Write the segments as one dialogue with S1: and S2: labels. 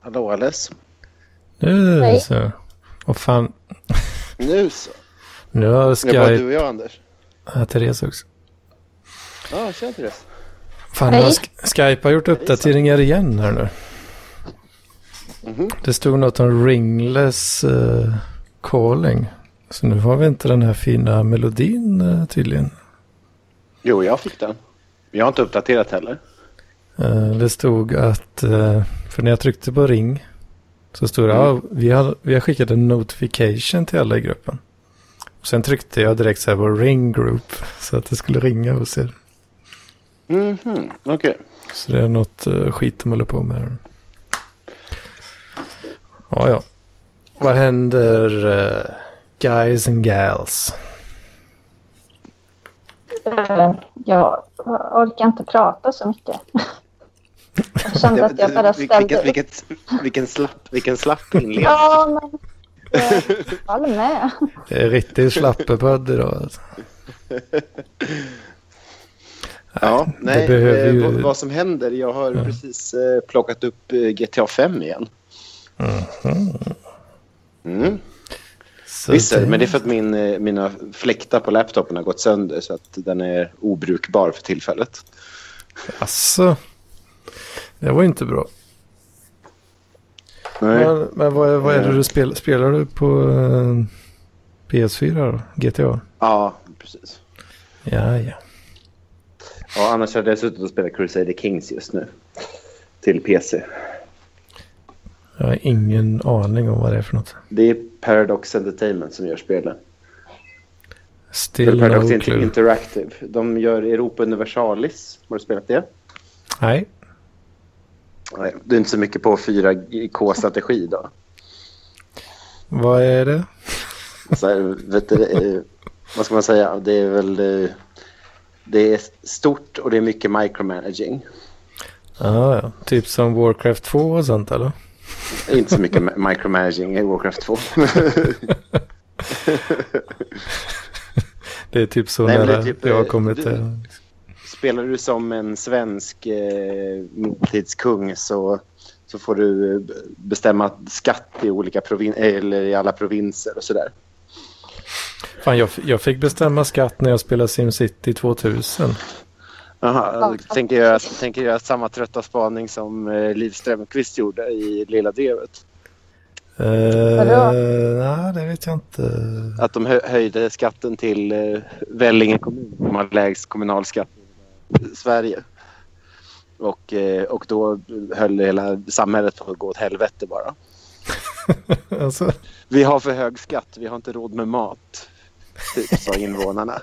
S1: Hallå Alice.
S2: Nu
S3: Nej.
S2: så. Vad fan.
S1: Nu så.
S2: Nu har
S1: Det var du
S2: Skype...
S1: och jag Anders.
S2: Ja, Therese också.
S1: Ja, tjena Therese.
S2: Fan, nu har
S3: Hej.
S2: Sk- Skype har gjort uppdateringar igen här nu.
S1: Mhm.
S2: Det stod något om ringless eh, calling. Så nu har vi inte den här fina melodin eh, tydligen.
S1: Jo, jag fick den. Jag har inte uppdaterat heller.
S2: Eh, det stod att, eh, för när jag tryckte på ring så stod det,
S1: Mm.
S2: ja, vi har, vi har skickat en notification till alla i gruppen. Och sen tryckte jag direkt så här på ring group så att det skulle ringa hos er.
S1: Mhm, okej.
S2: Så det är något eh, skit de håller på med. här. Ja, ja. Vad händer eh, guys and gals?
S3: Eh, Jag orkar inte prata så mycket. Jag kände att jag bara
S1: Det- det-
S3: ställde
S1: Vilket,
S3: upp.
S1: vilket, vilken slapp, vilken slapp inledning.
S3: Ja, men eh, jag håller med.
S2: Det är riktigt slappepodd idag. Alltså.
S1: Ja, nej,
S2: behöver
S1: eh,
S2: ju-
S1: vad, vad som händer. Jag har precis eh, plockat upp eh, GTA 5 igen. Mm.
S2: Så
S1: Visst är det,
S2: det-
S1: men det är för att min, eh, mina fläktar på laptopen har gått sönder så att den är obrukbar för tillfället.
S2: Asså. Alltså, Det var inte bra.
S1: Nej.
S2: Men, men vad, är- vad är det du spelar? Spelar du på eh, PS4 då? GTA?
S1: Ja, precis.
S2: Ja, ja.
S1: Ja, annars hade jag suttit och spelat Crusader Kings just nu. Till PC.
S2: Jag har ingen aning om vad det är för något.
S1: Det är Paradox Entertainment som gör spelen.
S2: Still
S1: Paradox
S2: no
S1: Inter-
S2: clue.
S1: Interactive. De gör Europa Universalis. Har du spelat det?
S2: Nej.
S1: Nej, du är inte så mycket på 4K-strategi då.
S2: Vad är det?
S1: Så här, vet du, eh, vad ska man säga? Det är väl... eh, Det är stort och det är mycket micromanaging.
S2: Ah, ja. Typ som Warcraft 2 och sånt eller?
S1: Inte så mycket ma- micromanaging i Warcraft 2.
S2: Det är typ så
S1: Nej, men det är
S2: nära
S1: typ,
S2: jag har
S1: eh,
S2: kommit
S1: du-
S2: till.
S1: Spelar du som en svensk eh, medeltidskung så, så får du eh, b- bestämma skatt i olika provin- eller i alla provinser och sådär.
S2: Fan, jag, jag fick bestämma skatt när jag spelade SimCity 2000.
S1: Jaha, eh, tänker jag tänker göra samma trötta spaning som eh, Liv Strömquist gjorde i Lilla Drevet.
S2: Eh,
S3: Vadå?
S2: nej, det vet jag inte.
S1: Att de hö- höjde skatten till eh, Vellinge kommun som har lägst kommunalskatt i Sverige. Och, eh, och då höll hela samhället på att gå åt helvete bara.
S2: alltså,
S1: Vi har för hög skatt, vi har inte råd med mat. Typ, sa invånarna.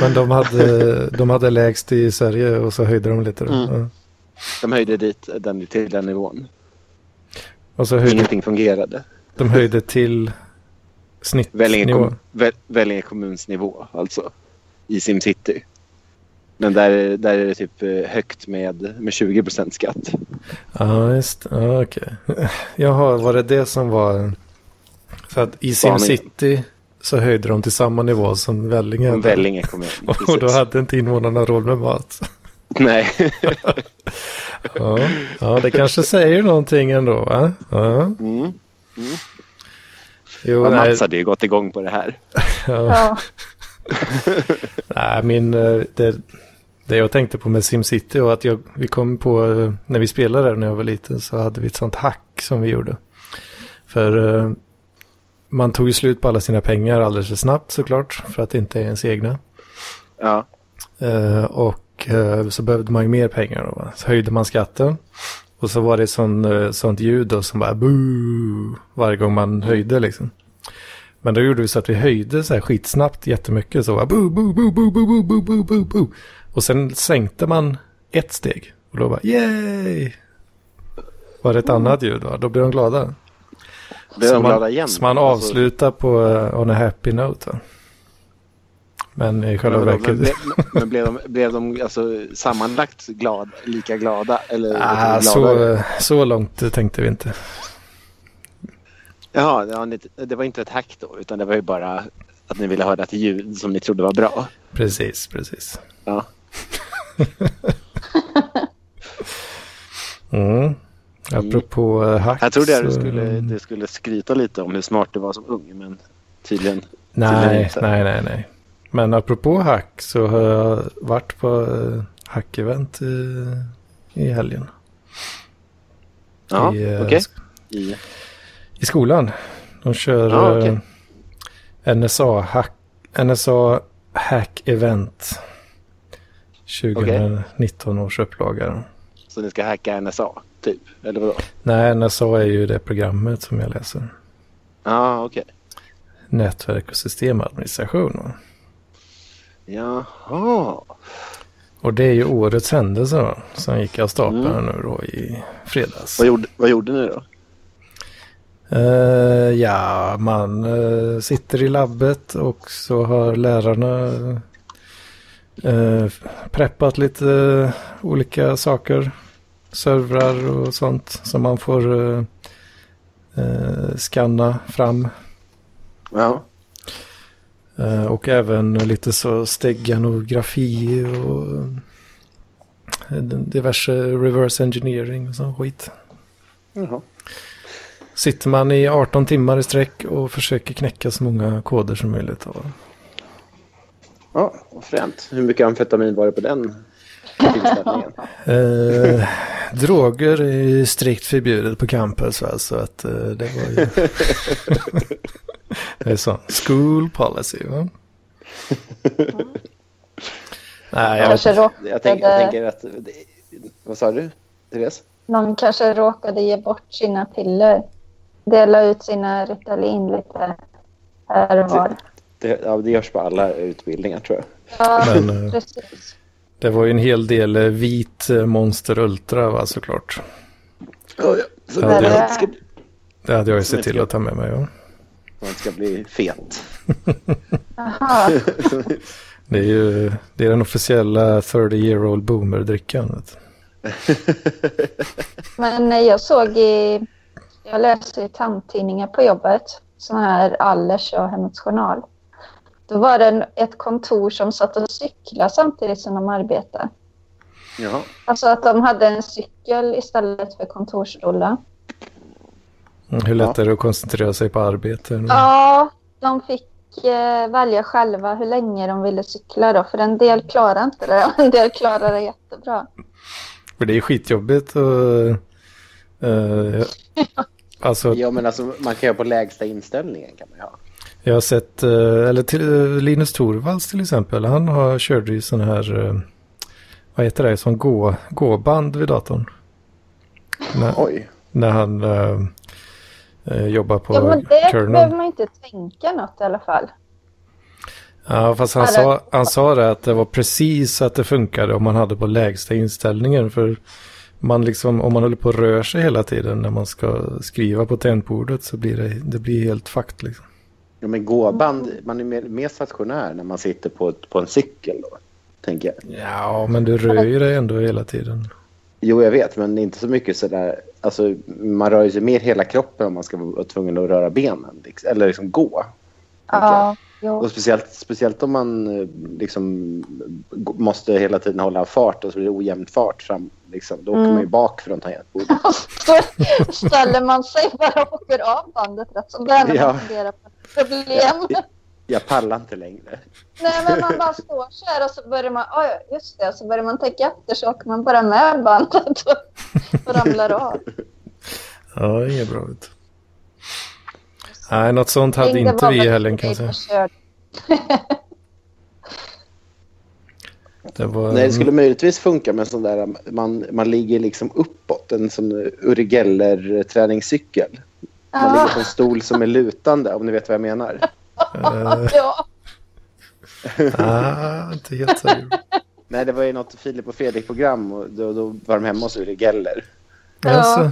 S2: men de hade, de hade lägst i Sverige och så höjde de lite. Då.
S1: Mm.
S2: Ja.
S1: De höjde dit den till den nivån.
S2: Och så höjde
S1: Ingenting fungerade.
S2: de höjde till
S1: Vellinge,
S2: snittnivå.
S1: kom, Ve- Vellinge kommuns nivå alltså. I SimCity. Men där, där är det typ eh, högt med, med 20 procent skatt.
S2: Ja, just ja, okej. Jaha, var det det som var... För att i
S1: Spaningen.
S2: SimCity så höjde de till samma nivå som Vellinge.
S1: Om Vellinge kommun.
S2: Och då
S1: precis.
S2: hade inte invånarna råd med mat.
S1: Nej.
S2: Ja, ja det kanske säger någonting ändå va? Ja.
S1: Mm.
S2: Jo,
S1: Och
S2: nej,
S1: Mats hade ju gått igång på det här.
S2: ja.
S3: Ja,
S2: nej, min, eh, det, det jag tänkte på med SimCity var att jag, vi kom på, eh, när vi spelade där när jag var liten så hade vi ett sånt hack som vi gjorde. För eh, man tog ju slut på alla sina pengar alldeles för snabbt såklart, för att det inte är ens egna.
S1: Ja.
S2: Eh, och eh, så behövde man ju mer pengar då. va? Så höjde man skatten. Och så var det sån, eh, sånt ljud då som bara boo varje gång man höjde liksom. Men då gjorde vi så att vi höjde så här skitsnabbt jättemycket. Så bara boo, boo, boo, boo, boo, boo, boo, boo, boo, boo. Och sen sänkte man ett steg. Och då bara yay! Var det ett annat ljud va? Då blev de glada.
S1: Mm. Blev de
S2: man,
S1: glada igen?
S2: Så man
S1: Alltså-
S2: avslutar på eh, on a happy note va? Men i själva
S1: Men, vadå,
S2: verket...
S1: men, men, men blev de, blev de alltså, sammanlagt glad, lika glada? Eller
S2: Ah,
S1: liksom
S2: så,
S1: gladare?
S2: så långt tänkte vi inte.
S1: Jaha, ja, ni- det var inte ett hack då, utan det var ju bara att ni ville höra ett ljud som ni trodde var bra.
S2: Precis, precis.
S1: Ja.
S2: Mm. Apropå eh, hack.
S1: Mm. Jag trodde jag du
S2: så-
S1: skulle, du skulle skryta lite om hur smart du var som ung, men tydligen. tydligen
S2: Nej,
S1: inte.
S2: nej, nej, nej. Men apropå hack så har jag varit på eh, hack-event eh, i helgen.
S1: Ja,
S2: I, eh,
S1: okej. I-
S2: I skolan. De kör
S1: Ja, okej.
S2: eh, NSA hack, NSA hack event. 2019 års upplaga.
S1: Så ni ska hacka NSA, typ? Eller vadå?
S2: Nej, NSA är ju det programmet som jag läser.
S1: Ja, okej.
S2: Nätverk och systemadministration. va.
S1: Jaha.
S2: Och det är ju årets händelse va, som gick av stapeln nu då i fredags.
S1: Vad gjorde, vad gjorde ni då?
S2: Eh, ja, man eh, sitter i labbet och så har lärarna eh, preppat lite eh, olika saker. Servrar och sånt som man får eh, eh, skanna fram.
S1: Ja.
S2: Eh, och även lite så steganografi och eh, diverse reverse engineering och sån skit.
S1: Jaha.
S2: Sitter man i 18 timmar i sträck och försöker knäcka så många koder som möjligt. av dem.
S1: Ja, vad fränt. Hur mycket amfetamin var det på den tillställningen?
S2: Eh, droger är ju strikt förbjudet på campus. Va? Så att eh, det var ju... det är sån school policy. Va? Nej, jag vet
S3: Kanske råkade,
S1: Jag, tänk, jag tänker att... Det, vad sa du, Therese?
S3: Någon kanske råkade ge bort sina piller. Dela ut sina Ritalin lite här och var.
S1: Det, ja, det görs på alla utbildningar, tror jag.
S3: Ja,
S2: Men, eh,
S3: precis.
S2: Det var ju en hel del eh, vit eh, Monster Ultra va, såklart.
S1: Oh, ja. Så
S2: Ja,
S1: man
S2: det-
S1: inte ska, bli-
S2: Det hade jag ju
S1: Som
S2: sett
S1: inte
S2: till
S1: jag-
S2: att ta med mig. Ja.
S1: man inte ska bli fet.
S3: Jaha,
S2: Det är ju det är den officiella 30 year old boomer-drickan. vet du.
S3: men eh, jag såg i... Jag läser ju tandtidningar på jobbet. Såna här Allers och Hemmets Journal. Då var det en, ett kontor som satt och cyklade samtidigt som de arbetade.
S1: Jaha.
S3: Alltså att de hade en cykel istället för kontorsrulla.
S2: Mm, Hur lätt
S1: Ja.
S2: är det att koncentrera sig på arbete? nu?
S3: Ja, de fick eh, välja själva hur länge de ville cykla då. För en del klarar inte det och en del klarar det jättebra.
S2: För det är skitjobbigt och... eh, alltså,
S1: Ja, men alltså, man kan göra på lägsta inställningen. kan man ju ha.
S2: jag har sett... eh, eller till, eh, Linus Torvalds till exempel, han har, körde ju sån här... eh, vad heter det? Som gå, gåband vid datorn. När,
S1: Oj.
S2: när han eh, eh, jobbar på
S3: Ja, men det
S2: kernel.
S3: behöver man inte tänka något i alla fall.
S2: Ja, fast han
S3: Eller-
S2: sa, han sa det att det var precis att det funkade om man hade på lägsta inställningen. För man liksom, om man håller på och rör sig hela tiden när man ska skriva på tangentbordet så blir det, det blir helt fakt. Liksom.
S1: Ja, men gåband, man är mer, mer stationär när man sitter på, ett- på en cykel. Då, tänker jag.
S2: Ja, men du rör ju dig ändå hela tiden.
S1: Jo, jag vet, men inte så mycket sådär. Alltså, man rör ju sig mer hela kroppen om man ska vara tvungen att röra benen. liksom. Eller liksom gå. tänker jag.
S3: Ja, jo.
S1: Och speciellt, speciellt om man eh, liksom, g- måste hela tiden hålla fart och så blir det ojämnt fart fram. Liksom. Då åker
S3: Mm.
S1: man ju bak från tangentbordet.
S3: Så ställer man sig bara och åker av bandet rätt som det är när
S1: Ja.
S3: man funderar på ett problem.
S1: Jag pallar inte längre.
S3: Nej, men man bara står så här och så börjar man, "Oj, just det, så börjar man tänka efter så åker man bara med bandet och, och ramlar av.
S2: Ja, det är bra. Vet. du. Nej, något sånt hade
S3: Ringde
S2: inte vi i
S3: mamma
S2: helgen
S3: till
S2: kan jag
S3: dig
S2: säga.
S3: och körde.
S2: Det var,
S1: Nej, det skulle möjligtvis funka med en sån där, man, man ligger liksom uppåt, en sån Uri Geller eh, träningscykel. Man
S3: Ja.
S1: ligger på en stol som är lutande, om ni vet vad jag menar.
S2: eh,
S3: Ja,
S2: ah, inte helt säker.
S1: Nej, det var ju något Filip och Fredrik-program och då, då var de hemma hos Uri Geller.
S3: Ja.
S2: Alltså,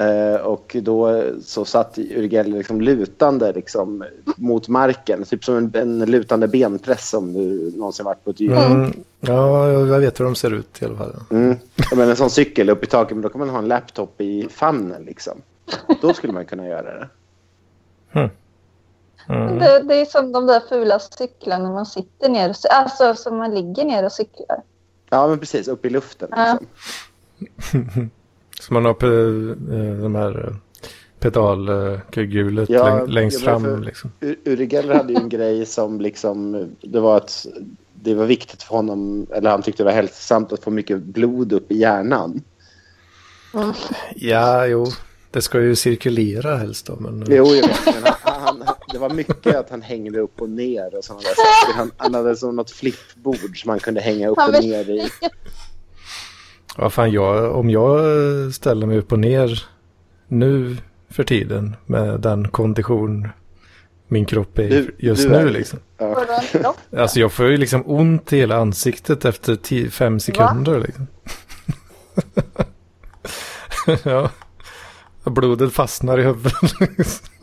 S1: Eh, och då så satt Uri Geller liksom lutande liksom, mot marken, typ som en, en lutande benpress om du någonsin varit på ett gym.
S2: mm, ja, jag vet hur de ser ut i alla fall.
S1: Mm. Ja, Men en sån cykel upp i taket, men då kan man ha en laptop i famnen liksom. Då skulle man kunna göra det.
S2: Mm.
S3: det, det är som de där fula cyklarna när man sitter ner och, cy- alltså som man ligger ner och cyklar.
S1: Ja, men precis. Upp i luften. Liksom.
S2: Så man har pe, eh, de här pedalhjulet
S1: Ja,
S2: läng, längst
S1: ja, men
S2: fram.
S1: för-
S2: Liksom.
S1: U- Uri Geller hade ju en grej som liksom, det var att det var viktigt för honom, eller han tyckte det var hälsosamt att få mycket blod upp i hjärnan.
S2: Ja, jo. Det ska ju cirkulera helst då. Men, eh,
S1: Jo, jag vet, men han, han, det var mycket att han hängde upp och ner och sådana där saker. Han, han hade som något flippbord som man kunde hänga upp
S3: Han
S1: och
S3: vill-
S1: ner i.
S2: Vad fan, jag, om jag ställer mig upp och ner nu för tiden med den kondition min kropp är i
S1: Du-
S2: just
S1: du
S2: nu
S1: är-
S2: liksom.
S3: Får du en kropp?
S2: Alltså jag får ju liksom ont i hela ansiktet efter 10 fem sekunder liksom. ja. Blodet fastnar i huvudet. liksom.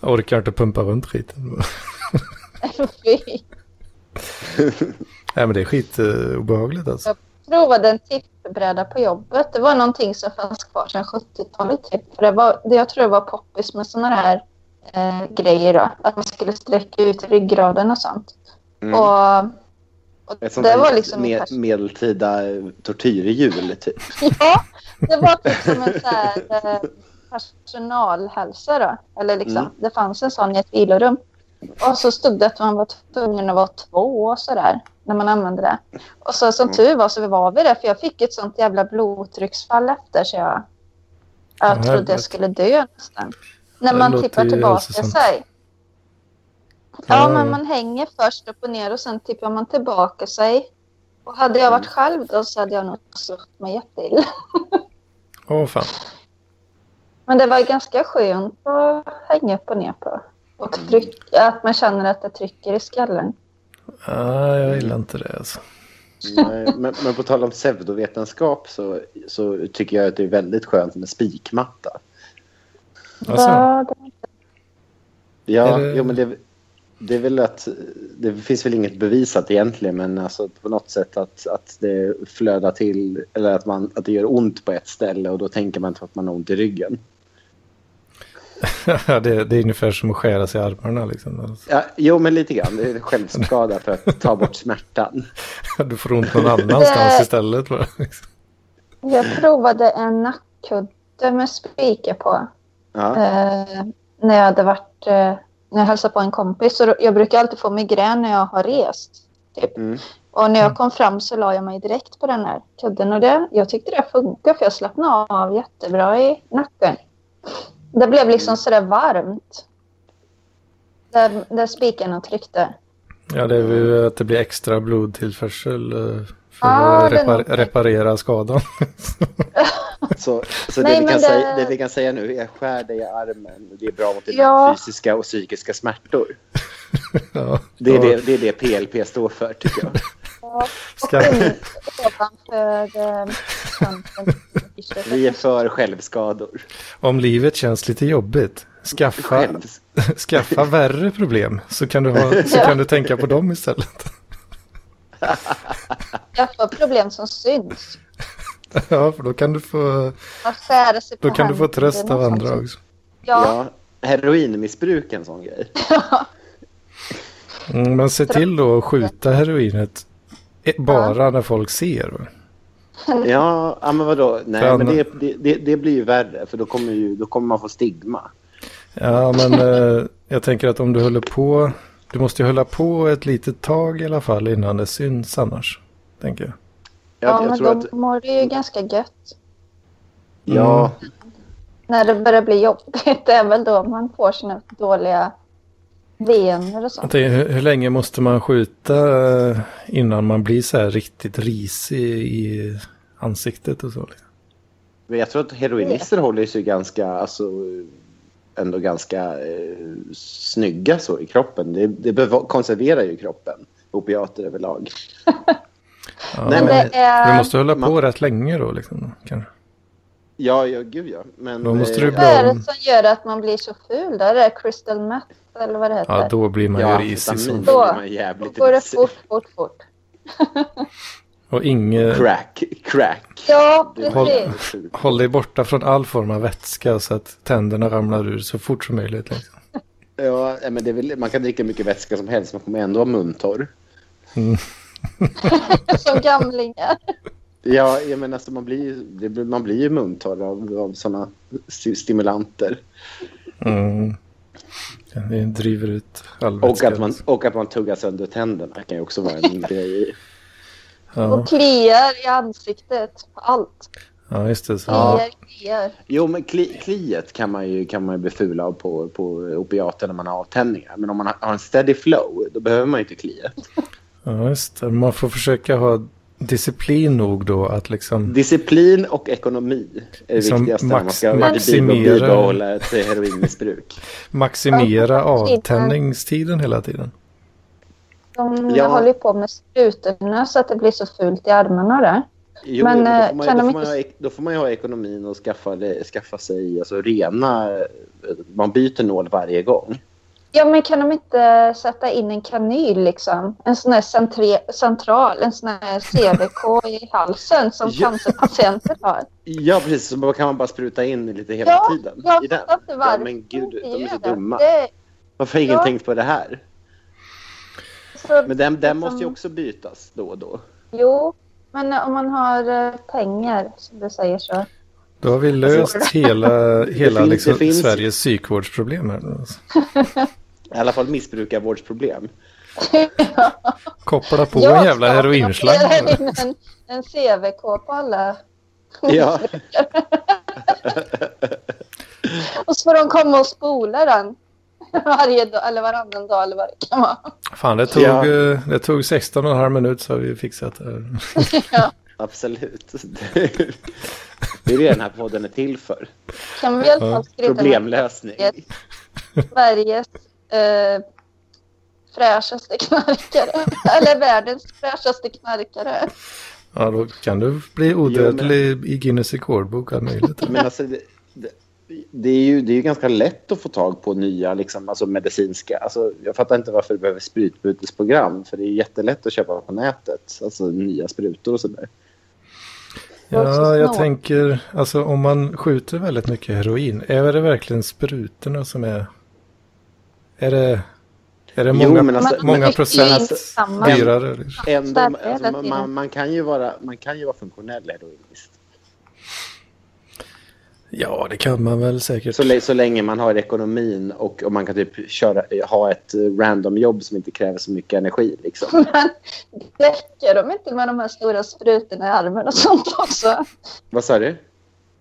S2: jag orkar inte pumpa runt skiten.
S3: Fy.
S2: Nej men det är skit eh, obehagligt alltså.
S3: Jag provade en tippbräda på jobbet. Det var någonting som fanns kvar sedan 70-talet. Typ. För Det var, det jag tror det var poppis med såna här eh, grejer. Då. Att man skulle sträcka ut ryggraden och sånt.
S1: Mm.
S3: Och, och
S1: Ett sånt
S3: det
S1: där
S3: var liksom...
S1: med,
S3: ungefär-
S1: medeltida eh, tortyrhjul, typ.
S3: Ja, det var typ som en så här, eh, personalhälsa då. Eller liksom,
S1: Mm.
S3: det fanns en sån i ett vilorum. Och så stod det att man var tvungen att vara två och sådär när man använde det. Och så som
S1: Mm.
S3: tur var så var vi det, för jag fick ett sånt jävla blodtrycksfall efter så jag, jag
S2: Ja,
S3: trodde
S2: helvete.
S3: jag skulle dö nästan. När
S2: Det
S3: man
S2: låter
S3: tippar
S2: ju
S3: tillbaka
S2: hälsosamt.
S3: sig.
S2: Ja,
S3: Ja, men
S2: ja.
S3: man hänger först upp och ner och sen tippar man tillbaka sig. Och hade jag varit
S2: Mm.
S3: själv då så hade jag nog slått mig jätteilla.
S2: Åh fan.
S3: Men det var ganska skönt att hänga upp och ner på. Och tryck, att man känner att det trycker i skallen.
S2: Ah, jag gillar inte det alltså.
S1: Nej, men, men på tal om pseudovetenskap så, så tycker jag att det är väldigt skönt med spikmatta.
S2: Alltså.
S3: Ja, det-
S1: Ja,
S2: Är det-
S1: jo, men det, det är väl att det finns väl inget bevisat egentligen, men alltså på något sätt att, att det flödar till eller att, man, att det gör ont på ett ställe och då tänker man inte att man har ont i ryggen.
S2: det, det är ungefär som att skära sig i armarna liksom. Alltså.
S1: Ja, jo, men lite grann. Det är självskada för att ta bort smärtan.
S2: Du får ont någon annanstans istället. Bara, liksom.
S3: Jag provade en nackkudde med spikar på.
S1: Ja,
S3: Eh, när jag hade varit... Eh, när jag hälsade på en kompis. Så då- jag brukar alltid få migrän när jag har rest. Typ.
S1: Mm.
S3: Och när jag kom fram så la jag mig direkt på den här kudden. Och det, jag tyckte det funkade för jag slappnade av jättebra i nacken. Det blev
S2: Mm.
S3: liksom sådär varmt. Där, där spikarna tryckte.
S2: Ja, det är ju att det blir extra blodtillförsel eh, för
S3: Ah,
S2: att
S3: det är
S2: repar-
S3: något.
S2: reparera skadan.
S1: så så
S3: Nej,
S1: det, vi
S3: men
S1: kan
S3: det-
S1: Säga, det vi kan säga nu är skär dig i armen. Det är bra mot dina
S3: Ja.
S1: fysiska och psykiska smärtor.
S2: ja.
S1: Det är,
S2: Ja,
S1: det, det är det PLP står för, tycker jag.
S2: Ska,
S3: Ovanför eh, kanten.
S1: Vi är för självskador.
S2: om livet känns lite jobbigt, skaffa,
S1: Själv.
S2: skaffa värre problem så kan du, ha, så
S3: Ja.
S2: kan du tänka på dem istället.
S3: Jag får problem som syns.
S2: ja, för då kan du få,
S3: Man skär sig på
S2: då kan du få
S3: händerna
S2: tröst av
S3: och
S2: andra
S3: sånt.
S2: också.
S3: Ja,
S1: Ja, heroinmissbruk är en sån grej.
S2: Mm, men se till då att skjuta heroinet eh, bara när folk ser. va?
S1: Ja, ja men vadå?
S2: För
S1: Nej,
S2: han-
S1: men det, det, det, det blir ju värre för då kommer, ju, då kommer man få stigma.
S2: Ja, men eh, jag tänker att om du håller på, du måste ju hålla på ett litet tag i alla fall innan det syns annars. Tänker jag.
S1: Jag,
S3: ja
S1: jag
S3: men
S1: tror
S3: då
S1: att,
S3: mår det ju ganska gött.
S1: ja,
S2: Mm.
S3: När det börjar bli jobbigt, det är väl då man får sina dåliga vener och
S2: Jag
S3: sånt.
S2: tänker, hur, hur länge måste man skjuta eh, innan man blir så här riktigt risig i ansiktet och så? Liksom?
S1: men jag tror att heroinister håller sig ganska, alltså, ändå ganska eh, snygga så i kroppen. Det, det bev- konserverar ju kroppen, opiater överlag.
S2: Ja,
S1: Nej,
S3: Men
S1: men-
S3: det är...
S2: Du måste hålla på
S1: man-
S2: rätt länge då liksom. Kanske.
S1: Ja, ja gud ja. Men,
S2: Då måste
S1: eh,
S2: du
S3: Vad är
S2: bli
S3: det
S2: om...
S3: som gör att man blir så ful då? Är det crystal meth eller vad det heter?
S2: Ja, då blir man ju
S1: Ja,
S2: risig.
S1: amfetamin
S2: Som...
S1: blir
S3: Då-
S1: man
S3: Då
S1: jävligt
S3: går det
S1: risig.
S3: fort, fort, fort.
S2: Och inget...
S1: Crack, crack.
S3: Ja,
S1: Det är
S3: precis.
S1: väldigt sjukt.
S2: Håll dig borta från all form av vätska så att tänderna ramlar ur så fort som möjligt. Liksom.
S1: Ja, nej, men det är väl, man kan dricka mycket vätska som helst, man kommer ändå ha muntorr.
S3: Som gamlingar.
S1: Ja, jag menar, alltså, man, blir, ju- det, blir- man blir ju muntorr av, av sådana sti- stimulanter.
S2: Mm. Det driver ut all
S1: Och
S2: vätska.
S1: att, man, och att man tuggar sönder tänderna kan ju också vara en grej.
S2: Ja,
S3: Och kliar i ansiktet på allt.
S2: ja just det. Så.
S1: Ja.
S3: Kliar, kliar.
S1: Jo, men kli, kliet kan man ju, kan man ju bli ful av på, på opiater när man har avtändningar. Men om man har en steady flow, då behöver man ju inte kliet.
S2: Ja, just det. Man får försöka ha disciplin nog då att liksom...
S1: Disciplin och ekonomi är det
S2: Som
S1: viktigaste.
S2: max-
S1: om man ska
S2: maximera-
S1: bibehå- bibehålla ett heroinmissbruk.
S2: maximera
S3: Ja, precis.
S2: avtändningstiden hela tiden.
S3: De
S1: Ja.
S3: håller ju på med sprutorna så att det blir så fult i armarna där.
S1: Jo,
S3: Men,
S1: men, då, får
S3: eh,
S1: man, ju- då, får
S3: kan de
S1: man ju ha, ek- då får man ju ha ekonomin och skaffa, det- skaffa sig alltså, rena... Man byter nål varje gång.
S3: Ja, men kan de inte sätta in en kanyl liksom? En sån här centre- central, en sån här CVK i halsen som
S1: Ja.
S3: cancerpatienter har.
S1: Ja, precis. Så kan man bara spruta in lite hela
S3: Ja,
S1: tiden.
S3: Jag
S1: i den.
S3: fattar inte varför
S1: Ja, men gud,
S3: inte
S1: de är
S3: gör
S1: så
S3: det.
S1: dumma.
S3: Det är-
S1: Varför har ingen
S3: Ja.
S1: tänkt på det här?
S3: så,
S1: Men den, den
S3: Liksom-
S1: måste ju också bytas då och då.
S3: Jo, men om man har eh, pengar, som du säger så.
S2: Då har vi löst hela, hela
S1: finns- Alltså-
S2: liksom,
S1: det finns-
S2: Sveriges psykvårdsproblem. Här. Alltså,
S1: I alla fall missbrukarvårdsproblem.
S2: Koppla på
S3: Jag
S2: en jävla
S3: ska
S2: heroinslang.
S3: operera in En, en CVK på alla.
S1: Ja,
S3: Och så får de komma och spola den. Varje dag, eller varannan dag eller vad det kan vara.
S2: Fan, det tog,
S1: Ja.
S2: eh, det tog 16 och en halv minut så har vi fixat det här.
S1: absolut. Det är det den här podden är till för.
S3: Kan vi i alla
S2: Ja.
S3: fall skriva
S1: Problemlösning.
S3: Sveriges eh, fräschaste knarkare. Eller världens fräschaste knarkare.
S2: Ja, då kan du bli odödlig i Guinness rekordbok, allt möjligt.
S1: Men alltså, det, det, det, är ju, det är ju ganska lätt att få tag på nya liksom, alltså medicinska... Alltså, jag fattar inte varför det behöver sprutbytesprogram. För det är jättelätt att köpa på nätet. Alltså nya sprutor och sådär.
S2: Ja, jag
S3: Snål.
S2: tänker, alltså om man skjuter väldigt mycket heroin, är det verkligen sprutorna som är... Är det, är det
S1: Jo,
S2: många,
S1: men alltså-
S2: många
S1: men-
S2: procent
S1: men-
S3: samma.
S2: dyrare? liksom?
S1: Ändå,
S3: Starkare hela
S1: alltså, man,
S3: tiden.
S1: man, man, kan ju vara, man kan ju vara funktionell heroinist.
S2: Ja, det kan man väl säkert.
S1: Så, lä- så länge man har ekonomin och, och man kan typ köra, ha ett eh, random jobb som inte kräver så mycket energi. Liksom.
S3: Men däckar de inte med de här stora sprutorna i armen och sånt också?
S1: Vad sa du?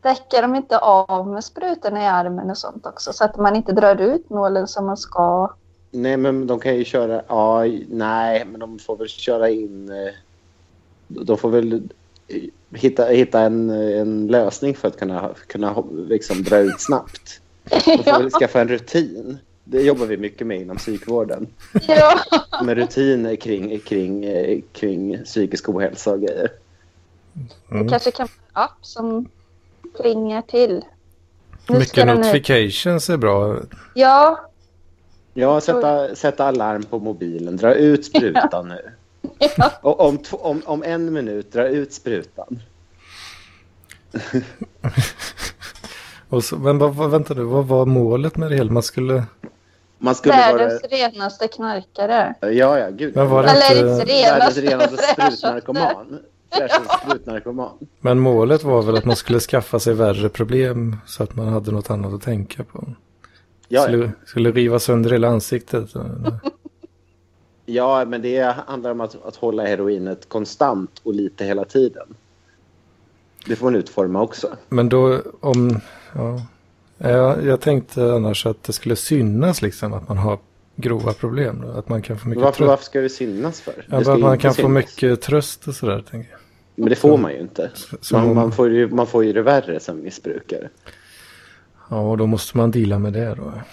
S3: Däckar de inte av med sprutorna i armen och sånt också? Så att man inte drar ut nålen som man ska.
S1: Nej, men de kan ju köra... Ja, nej, men de får väl köra in... eh, De får väl eh, hitta, hitta en, eh, en lösning för att kunna, kunna ho- liksom, dra ut snabbt. De får
S3: Ja,
S1: väl skaffa en rutin. Det jobbar vi mycket med inom psykvården.
S3: ja.
S1: Med rutiner kring, kring, eh, kring psykisk ohälsa och grejer.
S2: Mm.
S3: kanske kan vara en app som ringer till. Nu ska
S2: Mycket
S3: den ut.
S2: notifications är bra.
S3: Ja,
S1: Ja, sätta, sätta alarm på mobilen. Dra ut sprutan nu.
S3: Ja.
S1: Och om, två- om, om en minut, dra ut sprutan.
S2: Och så, men vad, vad, vänta nu, vad var målet med det hela? Man skulle...
S1: Man skulle
S3: världens
S1: vara...
S3: renaste knarkare.
S1: Ja, ja, gud.
S2: Men var det-
S3: Eller
S2: inte-
S3: inte
S1: eh, Världens
S3: renaste,
S1: renaste
S3: fräschaste.
S1: sprutnarkoman. Fräschaste sprutnarkoman.
S2: Men målet var väl att man skulle skaffa sig värre problem så att man hade något annat att tänka på.
S1: Ja, ja.
S2: Skulle, skulle riva sönder hela ansiktet.
S1: ja, men det handlar om att, att hålla heroinet konstant och lite hela tiden. Det får man utforma också.
S2: Men då om... Ja, jag, jag tänkte annars att det skulle synas liksom att man har grova problem. Då, att man kan få mycket
S1: Varför,
S2: tröst.
S1: varför ska det synas för?
S2: Ja,
S1: Det ska
S2: bara att man
S1: inte
S2: kan få
S1: synas.
S2: mycket tröst och sådär. Tänker jag.
S1: Men det får man ju inte.
S2: Som
S1: Man,
S2: om-
S1: man, får, ju, man får ju det värre som missbrukare.
S2: Ja, och då måste man dela med det då.
S3: Men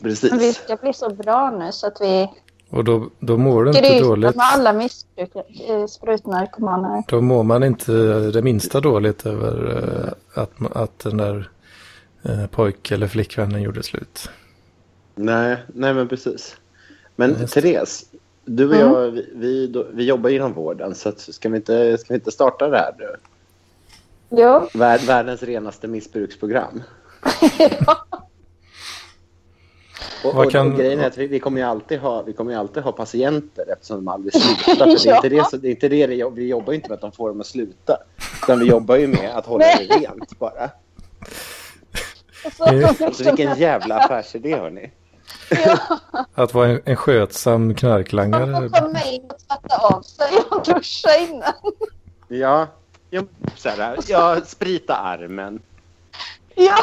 S3: vi
S1: Precis.
S3: ska bli så bra nu så att vi
S2: Och då, då mår du inte
S3: grytar med
S2: dåligt.
S3: alla missbruk- eh, sprutnarkomaner.
S2: Då mår man inte det minsta dåligt över eh, att, ma- att den där eh, pojk eller flickvännen gjorde slut.
S1: Nej, nej men precis. Men
S2: Ja, just det.
S1: Therese, du och
S3: Mm.
S1: jag, vi, vi, då- vi jobbar inom vården så att, ska, vi inte, ska vi inte starta det här nu?
S3: Jo,
S1: Vär, världens renaste missbruksprogram. Och,
S2: Vad
S1: och,
S2: kan-
S1: och grejen är att vi, vi, kommer ju alltid ha, vi kommer ju alltid ha patienter eftersom de aldrig slutar. För det är inte det, som- det, är inte det, det jobb- vi jobbar ju inte med att de får dem att sluta. Utan vi jobbar ju med att hålla det rent bara.
S3: Och så kommer
S1: Alltså vilken
S3: de- liksom-
S1: jävla affärsidé hörni.
S3: Ja,
S2: Att vara en, en skötsam
S3: de
S2: knarklangare.
S3: får komma in och tvätta av sig och duscha innan.
S1: Ja. Ja, men så här, ja, sprita armen.
S3: Ja,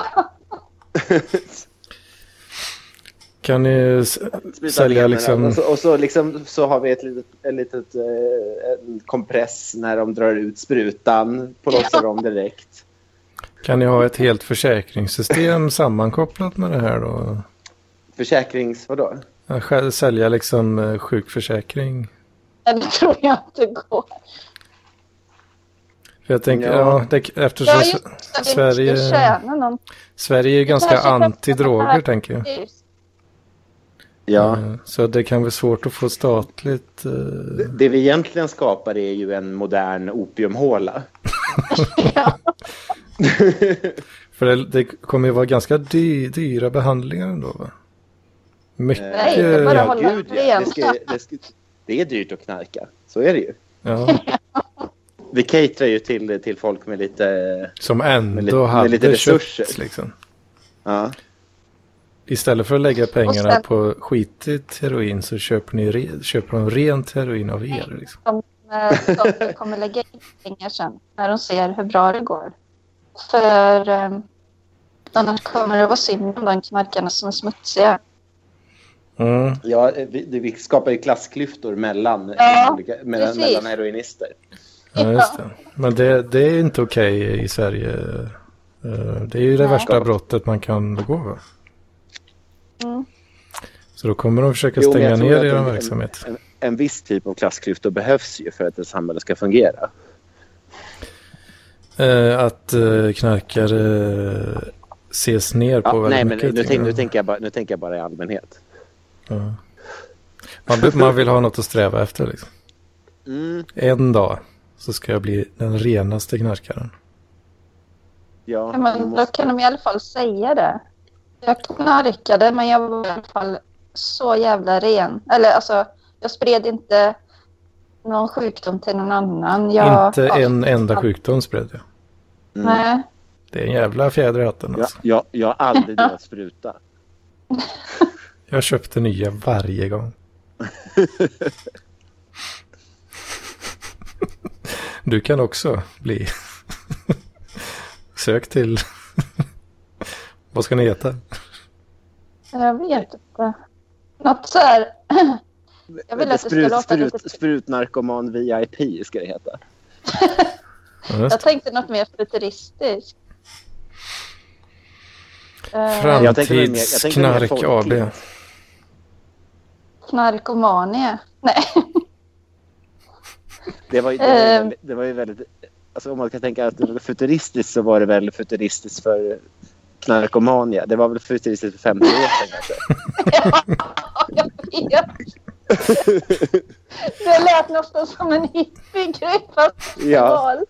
S2: Kan ni s-
S1: Sprita
S2: sälja
S1: benen.
S2: liksom...
S1: Och, så, och så, liksom, så har vi ett litet, ett litet eh, en kompress när de drar ut sprutan. Plåstrar dem direkt.
S2: Kan ni ha ett helt försäkringssystem sammankopplat med det här då?
S1: Försäkrings... Vadå?
S2: Ja, skä- Sälja liksom eh, sjukförsäkring?
S3: det tror jag inte går.
S2: För jag tänker, ja,
S1: Ja.
S2: det, eftersom
S3: Ja,
S2: S-
S3: just det.
S2: Sverige-
S3: Sverige... Vi tjänar någon.
S2: Sverige är ganska
S3: kanske kan-
S2: anti-droger tänker jag.
S1: Ja.
S2: Eh, Så det kan vara svårt att få statligt... eh,
S1: Det- Det vi egentligen skapar är ju en modern opiumhåla.
S2: För det, det kommer ju vara ganska dy, dyra behandlingar ändå va? Mycket...
S3: Nej, det är bara att hålla
S1: Gud, ja. det,
S3: rent.
S1: ska, det, ska, det är dyrt att knarka. Så är det ju.
S2: ja,
S1: Vi caterar ju till, till folk med lite...
S2: som ändå
S1: Med lite- med
S2: hade
S1: lite resurser.
S2: köpt liksom.
S1: Ja.
S2: Istället för att lägga pengarna
S3: sen-
S2: på skitigt heroin så köper, ni re, köper de rent heroin av er. Liksom.
S3: De, eh, de kommer lägga in pengar sen när de ser hur bra det går. För eh, annars kommer det vara synd om de knarkarna som är smutsiga.
S2: Mm.
S1: Ja, vi, det- vi skapar ju klassklyftor mellan,
S3: Ja,
S1: olika, mellan,
S3: precis.
S1: mellan heroinister.
S2: Ja, just det. Men det, det är inte okej i Sverige. Eh, Det är ju det
S3: Nej.
S2: värsta brottet man kan begå. Va?
S3: Mm.
S2: Så då kommer de försöka
S1: Jo, men
S2: stänga
S1: jag tror
S2: ner
S1: att
S2: er
S1: en-
S2: verksamhet.
S1: En, en viss typ av klassklyftor behövs ju för att ett samhälle ska fungera.
S2: Eh, Att eh, knarkare ses ner på
S1: Ja,
S2: väldigt
S1: nej, men
S2: mycket.
S1: nu,
S2: tycker
S1: tänk, nu,
S2: jag.
S1: tänker jag bara, nu tänker jag bara i allmänhet.
S2: Ja. Man, be- man vill ha något att sträva efter. Liksom.
S1: Mm,
S2: En dag så ska jag bli den renaste knarkaren.
S1: ja,
S3: Ja, men
S1: vi
S3: Då
S1: måste-
S3: kan de i alla fall säga det. Jag knarkade, men jag var i alla fall så jävla ren. Eller alltså, jag spred inte någon sjukdom till någon annan. Jag,
S2: inte
S3: ja,
S2: en enda sjukdom spred jag.
S1: mm.
S3: Nej,
S2: Det är en jävla fjäder i hatten.
S1: Ja,
S2: Alltså.
S1: jag, jag har aldrig delat spruta.
S2: Jag köpte nya varje gång. Du kan också bli. Sök till... Vad ska ni heta?
S3: jag vet inte. Något så här. Jag vill att det ska
S1: Sprut-
S3: låta
S1: sprut-
S3: lite-
S1: Sprutnarkoman VIP ska det heta.
S2: Ja, just
S3: Jag tänkte något mer futuristiskt.
S2: det.
S3: Eh,
S1: Jag tänker väl mer- jag tänker väl mer
S2: Framtidsknark
S1: folkligt.
S2: AB.
S3: Knarkomania. Nej.
S1: Det var ju, det var ju,
S3: Eh.
S1: väldigt, det var ju väldigt... Alltså om man kan tänka att det var futuristiskt så var det väl futuristiskt för knarkomania. Det var väl futuristiskt för 50 år sedan kanske.
S3: Jag vet. Det lät nästan som en hippiegrej fast
S1: Ja.
S3: global.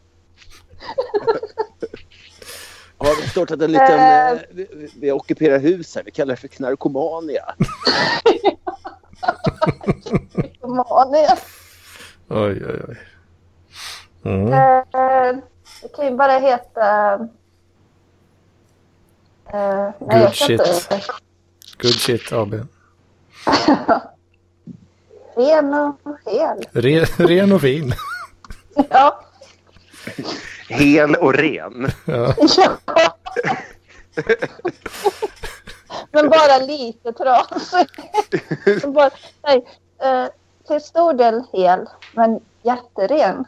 S1: Har vi startat en liten...
S3: Eh.
S1: Eh, vi, vi ockuperar hus här. Vi kallar det för knarkomania.
S3: Knarkomania.
S2: Oj, oj, oj. Mm.
S3: Eh, Det kan ju bara heta... eh, nej,
S2: Good
S3: jag kan inte-
S2: shit. Good shit AB.
S3: Ren och hel.
S2: Re, ren och fin.
S3: Ja.
S1: Hel och ren.
S2: Ja.
S3: Ja. Men bara lite trasig. Bara, nej, eh, till stor del hel, men jätteren.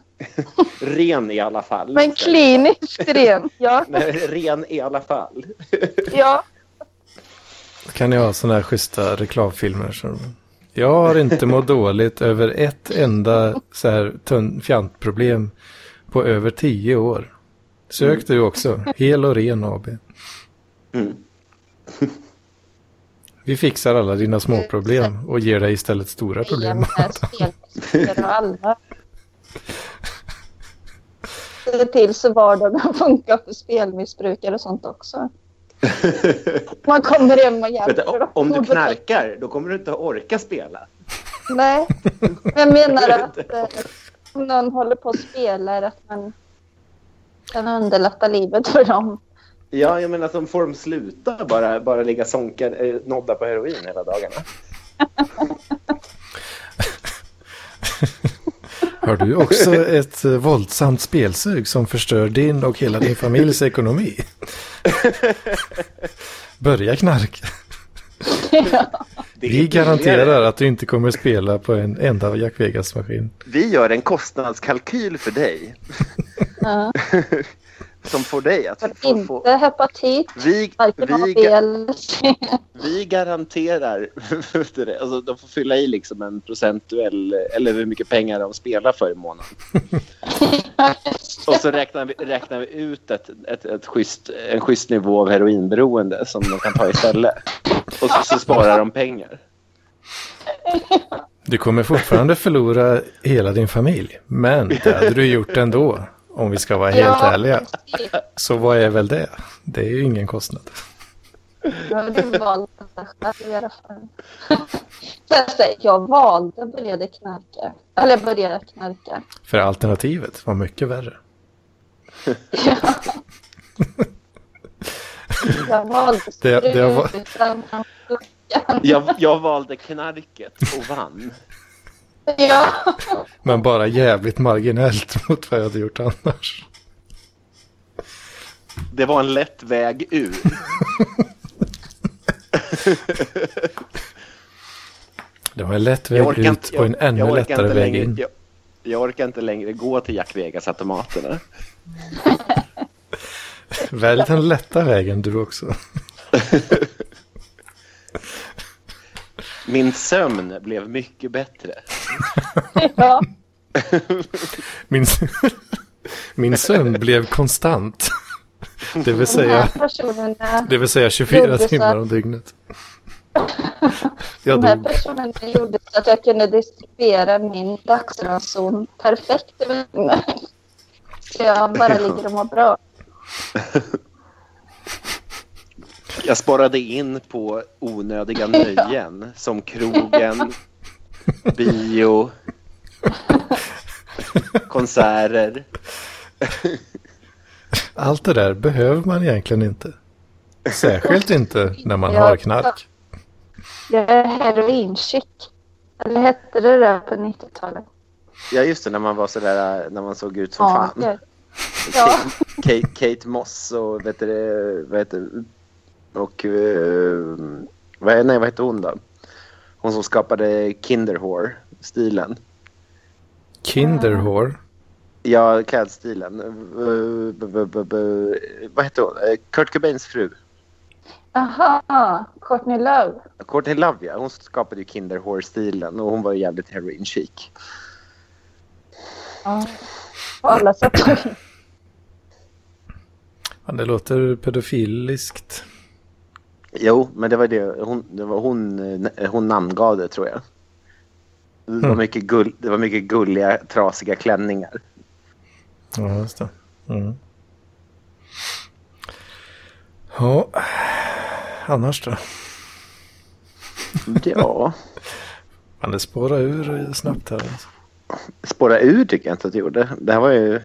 S1: Ren i alla fall.
S3: Men kliniskt ren. Ja,
S1: Nej, ren i alla fall.
S3: ja.
S2: kan ni ha sådana här schyssta reklamfilmer som... Jag har inte mått dåligt över ett enda så här tön- fjantproblem på över tio år. Sök du också. Hel och ren AB.
S1: Mm.
S2: Vi fixar alla dina småproblem och ger dig istället stora problem.
S3: Med spelmissbrukare och alla. Se till så vardagen funkar för spelmissbrukare och sånt också. Man kommer hem och hjälper
S1: Vänta, o-
S3: dem.
S1: om du knarkar, då kommer du inte orka spela.
S3: Nej, jag menar att eh, om någon håller på och spelar att man kan underlätta livet för dem.
S1: Ja, jag menar som får de sluta bara, bara ligga sonkad, eh, nodda på heroin hela dagarna.
S2: Har du också ett eh, våldsamt spelsug som förstör din och hela din familjs ekonomi? Börja knarka.
S1: Det är
S2: Vi garanterar
S1: billigare.
S2: att du inte kommer spela på en enda Jack Vegas-maskin.
S1: Vi gör en kostnadskalkyl för dig
S3: Ja.
S1: som får dig att få... få
S3: Inte hepatit,
S1: vi,
S3: varken
S1: vi,
S3: AB eller C.
S1: Vi garanterar, för det. alltså, de får fylla i liksom en procentuell, eller hur mycket pengar de spelar för i månaden. Och så räknar vi, räknar vi ut ett, ett, ett schysst, en schysst nivå av heroinberoende som de kan ta istället. Och så, så sparar de pengar.
S2: Du kommer fortfarande förlora hela din familj, men det hade du gjort ändå. Om vi ska vara helt
S3: Ja,
S2: ärliga.
S3: precis.
S2: Så vad är väl det? Det är ju ingen kostnad.
S3: Nu har du valt det själv i alla fall. Sen säger Jag valde och började knarka. Eller började knarka.
S2: För alternativet var mycket värre.
S3: Jag valde
S2: Det- det har va-
S3: strutan framför klockan.
S1: Jag, jag valde knarket och vann.
S3: Ja,
S2: Men bara jävligt marginellt mot vad jag hade gjort annars.
S1: Det var en lätt väg ur.
S2: Det var en lätt
S1: Jag
S2: väg
S1: orkar
S2: ut
S1: inte-
S2: och en
S1: jag-
S2: ännu
S1: jag orkar
S2: lättare
S1: inte
S2: väg
S1: längre-
S2: in.
S1: Jag, jag orkar inte längre gå till Jack Vegas-automaterna.
S2: Välj den lätta vägen du också.
S1: Min sömn blev mycket bättre.
S3: ja.
S2: Min, min sömn blev konstant. Det vill
S3: De här
S2: säga,
S3: personerna,
S2: det vill säga 24
S3: Gjorde så.
S2: timmar om dygnet. Jag
S3: de här
S2: dog.
S3: personerna gjorde så att jag kunde distribuera min dagsranson perfekt över mig. Så jag bara ligger och mår bra.
S1: Jag sparade in på onödiga nöjen som krogen, bio, konserter.
S2: Allt det där behöver man egentligen inte. Särskilt inte när man
S3: Ja.
S2: har knark.
S3: Jag är heroinchick. Eller hette det där på 90-talet?
S1: Ja, just det, när man var sådär, när man såg ut som fan.
S3: det- Ja.
S1: Kate, Kate Moss och vet du, det, vad heter det, och eh, vad, är- nej, vad heter hon då? Hon som skapade Kinderhår-stilen.
S2: Kinderhår.
S1: Ja, klädstilen. Eh, b- b- b- b- Vad heter hon? Eh, Kurt Cobains fru.
S3: Aha, Courtney Love.
S1: Courtney Love, ja. Hon skapade ju Kinderhår-stilen och hon var ju jävligt heroin chic.
S3: Ja. På alla sätt och vis.
S2: Ja, Det låter pedofiliskt.
S1: Jo, men det var det. Hon, det var hon, eh, hon namngav det, tror jag. Det var,
S2: Mm.
S1: mycket gull, det var mycket gulliga, trasiga klänningar.
S2: Ja, just det. Mm. Ja, annars då?
S1: Ja,
S2: Man det spårar ur snabbt här. Alltså.
S1: spåra ur tycker jag inte att det gjorde. Det här var ju... eh,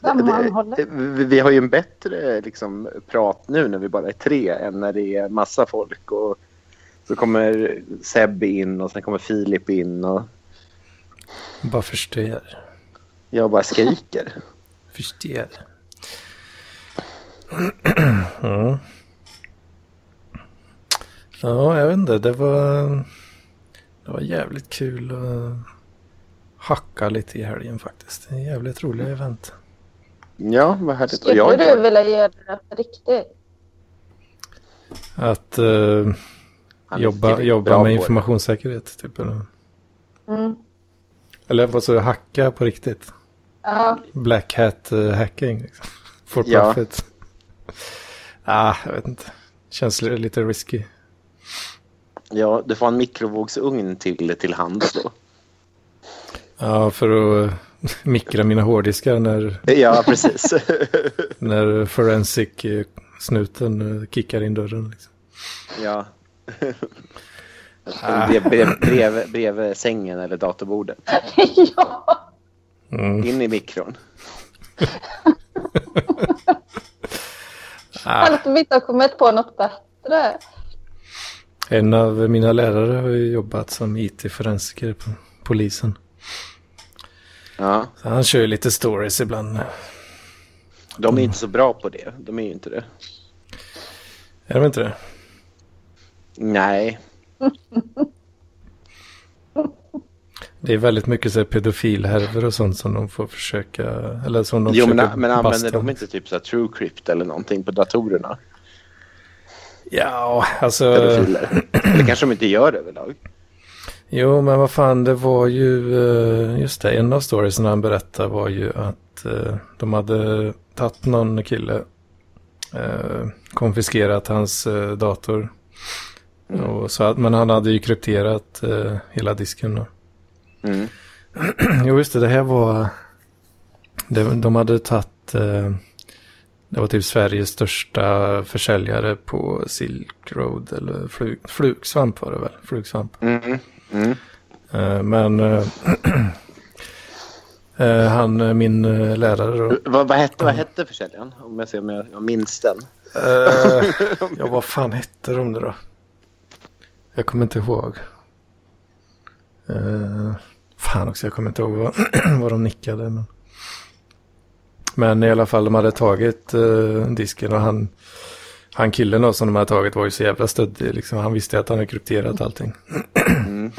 S3: Sammanhållet.
S1: Vi- Vi har ju en bättre liksom, prat nu när vi bara är tre än när det är massa folk. Och så kommer Seb in och sen kommer Filip in och
S2: Bara förstör.
S1: jag bara skriker.
S2: Förstör. Ja, jag vet inte. Det var, det var jävligt kul att hacka lite i helgen faktiskt. Det är jävligt roliga event.
S1: Ja, vad härligt. Och
S3: Skulle
S1: jag,
S3: du vilja göra det på riktigt?
S2: Att eh,
S1: Han är
S2: jobba,
S1: riktigt
S2: jobba
S1: bra på
S2: med
S1: det.
S2: informationssäkerhet. Typ, eller?
S3: Mm.
S2: Eller vad sa du, hacka på riktigt?
S3: Ja,
S2: Black hat eh, hacking. Liksom. For
S1: Ja.
S2: profit. ah, jag vet inte. Känns li- lite risky.
S1: Ja, du får en mikrovågsugn till, till hands då.
S2: Ja, för att eh, mikra mina hårddiskar när,
S1: Ja, precis.
S2: när forensic eh, snuten eh, kickar in dörren. Liksom.
S1: Ja. Jag stod brev, brev, brev, bredvid sängen eller datorbordet.
S3: ja.
S2: Mm.
S1: In i mikron.
S2: Ah.
S3: Allt om vi inte har kommit på något bättre.
S2: En av mina lärare har ju jobbat som IT-forensiker på polisen.
S1: Ja.
S2: Så han kör ju lite stories ibland.
S1: De är inte så bra på det. De är ju inte det.
S2: Är de inte det?
S1: Nej.
S2: Det är väldigt mycket så här pedofilhärvor och sånt som de får försöka... Eller som de
S1: Jo,
S2: försöker
S1: men, men använder
S2: basta.
S1: de inte typ så här TrueCrypt eller någonting på datorerna?
S2: Ja, alltså...
S1: Pedofiler. Det kanske de inte gör överlag.
S2: Jo, men vad fan, det var ju... eh, Just det, en av storiesen han berättade var ju att eh, de hade tagit någon kille, eh, konfiskerat hans eh, dator. Och så att, men han hade ju krypterat eh, hela disken då.
S1: Mm.
S2: Jo, just det. Det här var... Det, de hade tagit... Eh, det var typ Sveriges största försäljare på Silk Road. Eller flug, flugsvamp var det väl? Flugsvamp.
S1: Mm. Mm.
S2: Eh, men... Eh, eh, han, eh, min eh, lärare då.
S1: Vad, vad, hette, vad hette försäljaren? Om jag ser om jag, jag minns den.
S2: Eh, ja, vad fan hette de nu då? Jag kommer inte ihåg. Eh, fan också, jag kommer inte ihåg vad, vad de nickade. Men... men i alla fall, de hade tagit eh, disken och han, han killen då, som de hade tagit var ju så jävla stöddig. Liksom. Han visste att han hade krypterat allting.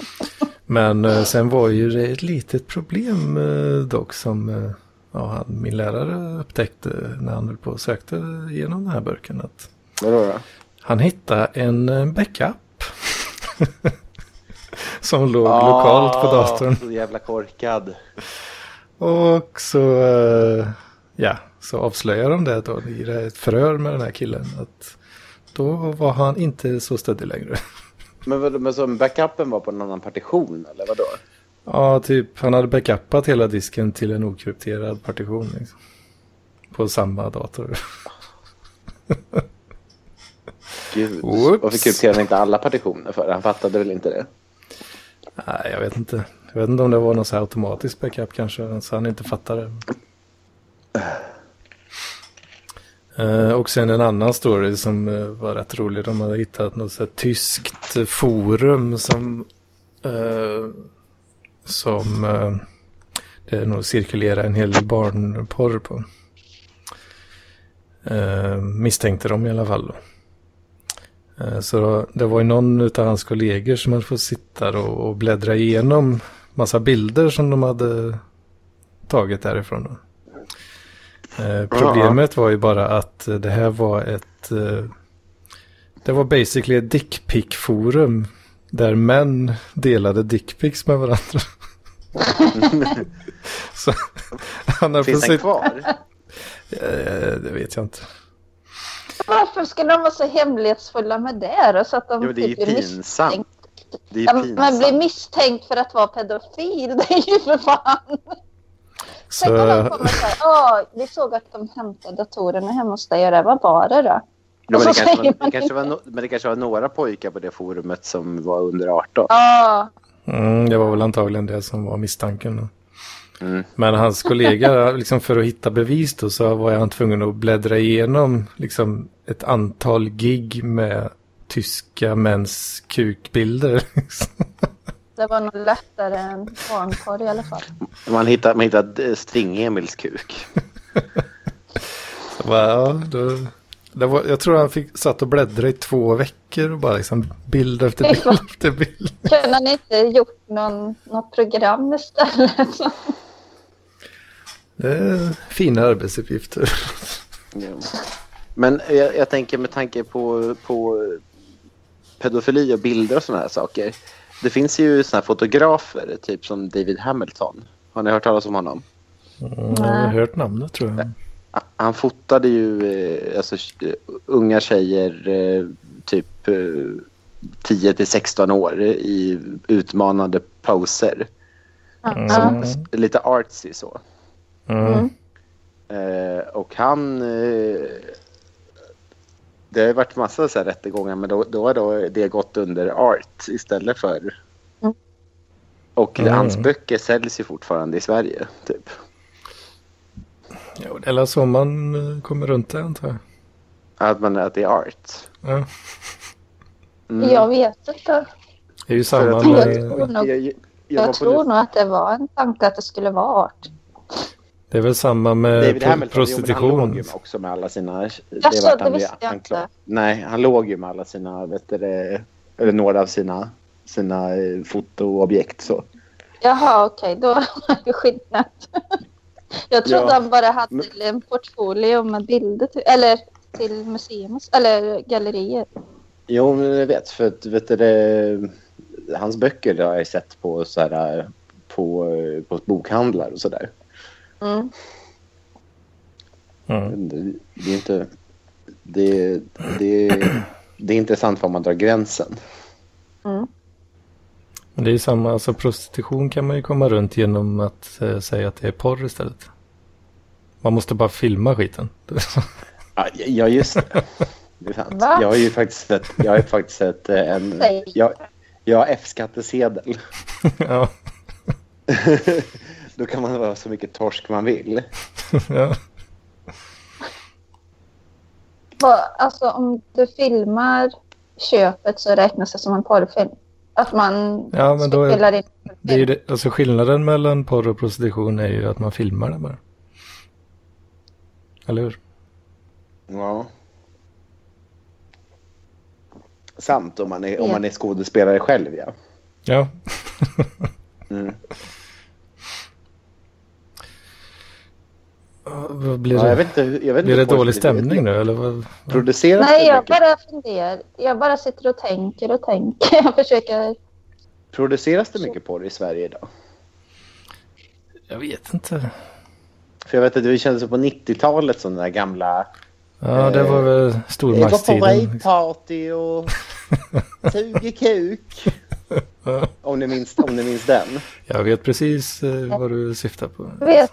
S2: Men eh, sen var ju det ett litet problem eh, dock som eh, ja, han, min lärare upptäckte när han höll på och sökte igenom den här burken. Att
S1: Vadå då?
S2: han hittade en eh, backup. som låg
S1: Ah,
S2: lokalt på datorn.
S1: Så jävla korkad.
S2: Och så, eh, ja, så avslöjar de det då i det- ett förhör med den här killen. Att då var han inte så stöddig längre.
S1: Men, vadå, men så backupen var på en annan partition eller vadå?
S2: Ja, typ han hade backupat hela disken till en okrypterad partition. Liksom. På samma dator.
S1: Gud.
S2: Whoops.
S1: Varför krypterade han inte alla partitioner för? Han fattade väl inte det?
S2: Nej, jag vet inte. Jag vet inte om det var någon så här automatisk backup kanske, så han inte fattade. Eh, och sen en annan story som eh, var rätt rolig. De hade hittat något så här tyskt forum som... Eh, som... Eh, det nog cirkulerar en hel del barnporr på. Eh, misstänkte de i alla fall då. Eh, Så då, det var ju någon av hans kollegor som hade fått sitta då och bläddra igenom massa bilder som de hade tagit därifrån. Då. Eh, Problemet var ju bara att eh, det här var ett... eh, Det var basically ett dickpick-forum där män delade dickpics med varandra. Så han har
S1: Finns
S2: fått
S1: den
S2: sitta...
S1: kvar?
S2: Eh, Det vet jag inte.
S3: Varför skulle de vara så hemlighetsfulla med det då? Så att de
S1: Jo, det är ju
S3: typ blir
S1: pinsamt.
S3: misstänkt.
S1: Det
S3: Ja,
S1: är ju
S3: men blir
S1: pinsamt.
S3: misstänkt för att vara pedofil, det är ju för fan.
S2: Så...
S3: Tänk om de kommer så här, "Åh, vi såg att de hämtade datorerna hemma hos dig och det, vad var det då?
S1: Ja, men,
S3: Och
S1: det
S3: så
S1: kanske
S3: säger
S1: var,
S3: man
S1: det kanske var no, men det kanske var några pojkar på det forumet som var under 18.
S3: Ja,
S2: Mm, det var väl antagligen det som var misstanken. Då.
S1: Mm.
S2: Men hans kollega, liksom för att hitta bevis då, så var han tvungen att bläddra igenom liksom, ett antal gig med tyska mäns kukbilder. liksom.
S3: det var nog lättare än barnporr i alla fall.
S1: Man hittade, man hittade eh, String-Emils kuk.
S2: Så bara, ja, då, det var, jag tror han fick, satt och bläddrade i två veckor och bara liksom bild efter
S3: Fy
S2: bild
S3: fan.
S2: efter bild.
S3: Kunde han inte gjort någon, något program istället?
S2: Det är fina arbetsuppgifter.
S1: Ja. Men jag, jag tänker med tanke på, på pedofili och bilder och sådana här saker. Det finns ju sådana här fotografer, typ som David Hamilton. Har ni hört talas om honom?
S2: Mm, jag har
S3: Nej.
S2: hört namnet tror jag.
S1: Han fotade ju eh, alltså, eh, unga tjejer eh, typ eh, 10 till 16 år i utmanande poser.
S3: Ja.
S1: Lite artsy så.
S2: Mm.
S1: Eh, och han eh, Det har ju varit massa så här rättegångar men då, då har då det gått under art istället för...
S3: Mm.
S1: Och
S2: Mm.
S1: hans böcker säljs ju fortfarande i Sverige. Typ.
S2: Jo, det är väl så man eh, kommer runt det antar jag.
S1: Att, man, att det är art.
S2: Ja.
S1: Mm.
S3: Jag vet inte.
S2: Det är ju
S1: För
S2: samma
S1: att-
S3: Jag
S2: med,
S3: tror nog-
S1: jag, jag,
S3: Jag,
S1: jag var på
S3: tror nog att det var en tanke att det skulle vara art.
S2: det är väl samma med
S1: David
S2: Eh, pro-
S1: Hamilton, Jo, men han låg
S2: prostitution.
S1: ju också med alla sina...
S3: Jaså,
S1: vart
S3: det
S1: han ju
S3: visste jag
S1: anklag-
S3: inte.
S1: Nej, han låg ju med alla sina, vet du, det, eller några av sina, sina eh, fotoobjekt. Så.
S3: Jaha, okej, då var det skillnad. Jag trodde
S1: Ja,
S3: han bara hade
S1: men-
S3: en portfolio med bilder till, eller till museum eller gallerier.
S1: Jo, men jag vet, för att, vet du, det, hans böcker har jag sett på, så här, eh, på, eh, på bokhandlar och sådär.
S3: Mm.
S2: Mm.
S1: Det, det är inte... Det, det, det är intressant var man drar gränsen.
S3: Mm.
S2: Men det är ju samma, alltså prostitution kan man ju komma runt genom att eh, säga att det är porr istället. Man måste bara filma skiten.
S1: Ja, Ja, just det. det är sant.
S3: Va?
S1: Jag har ju faktiskt sett, jag har ju faktiskt sett eh, en...
S3: Säg.
S1: Jag, jag har F-skattesedel.
S2: ja,
S1: Då kan man vara så mycket torsk man vill.
S2: ja.
S3: Vad- Alltså om du filmar köpet så räknas det som en porrfilm. Att man
S2: Ja, men då är-
S3: spelar in en
S2: Det är ju
S3: porrfilm.
S2: det, alltså skillnaden mellan porr och prostitution är ju att man filmar det bara. Eller hur?
S1: Ja. Samt om man är, om man är skådespelare själv, ja.
S2: Ja.
S1: Mm.
S2: Ja, Vad blir
S1: ja jag
S2: det?
S1: vet inte, hur- jag vet inte
S2: Blir det
S1: hur folk-
S2: dålig stämning nu eller? Vad?
S1: Produceras
S3: Nej,
S1: det
S3: jag
S1: mycket,
S3: bara funderar. Jag bara sitter och tänker och tänker. Jag försöker.
S1: produceras det mycket porr i Sverige idag?
S2: Jag vet inte.
S1: För jag vet att det kändes som på 90-talet som den där gamla...
S2: Ja, det var
S1: Eh,
S2: väl
S1: Det var på
S2: stormaktstiden.
S1: raveparty och tog i kuk. Om ni minns, om ni minns den.
S2: Jag vet precis eh, vad du syftar på.
S3: Vet,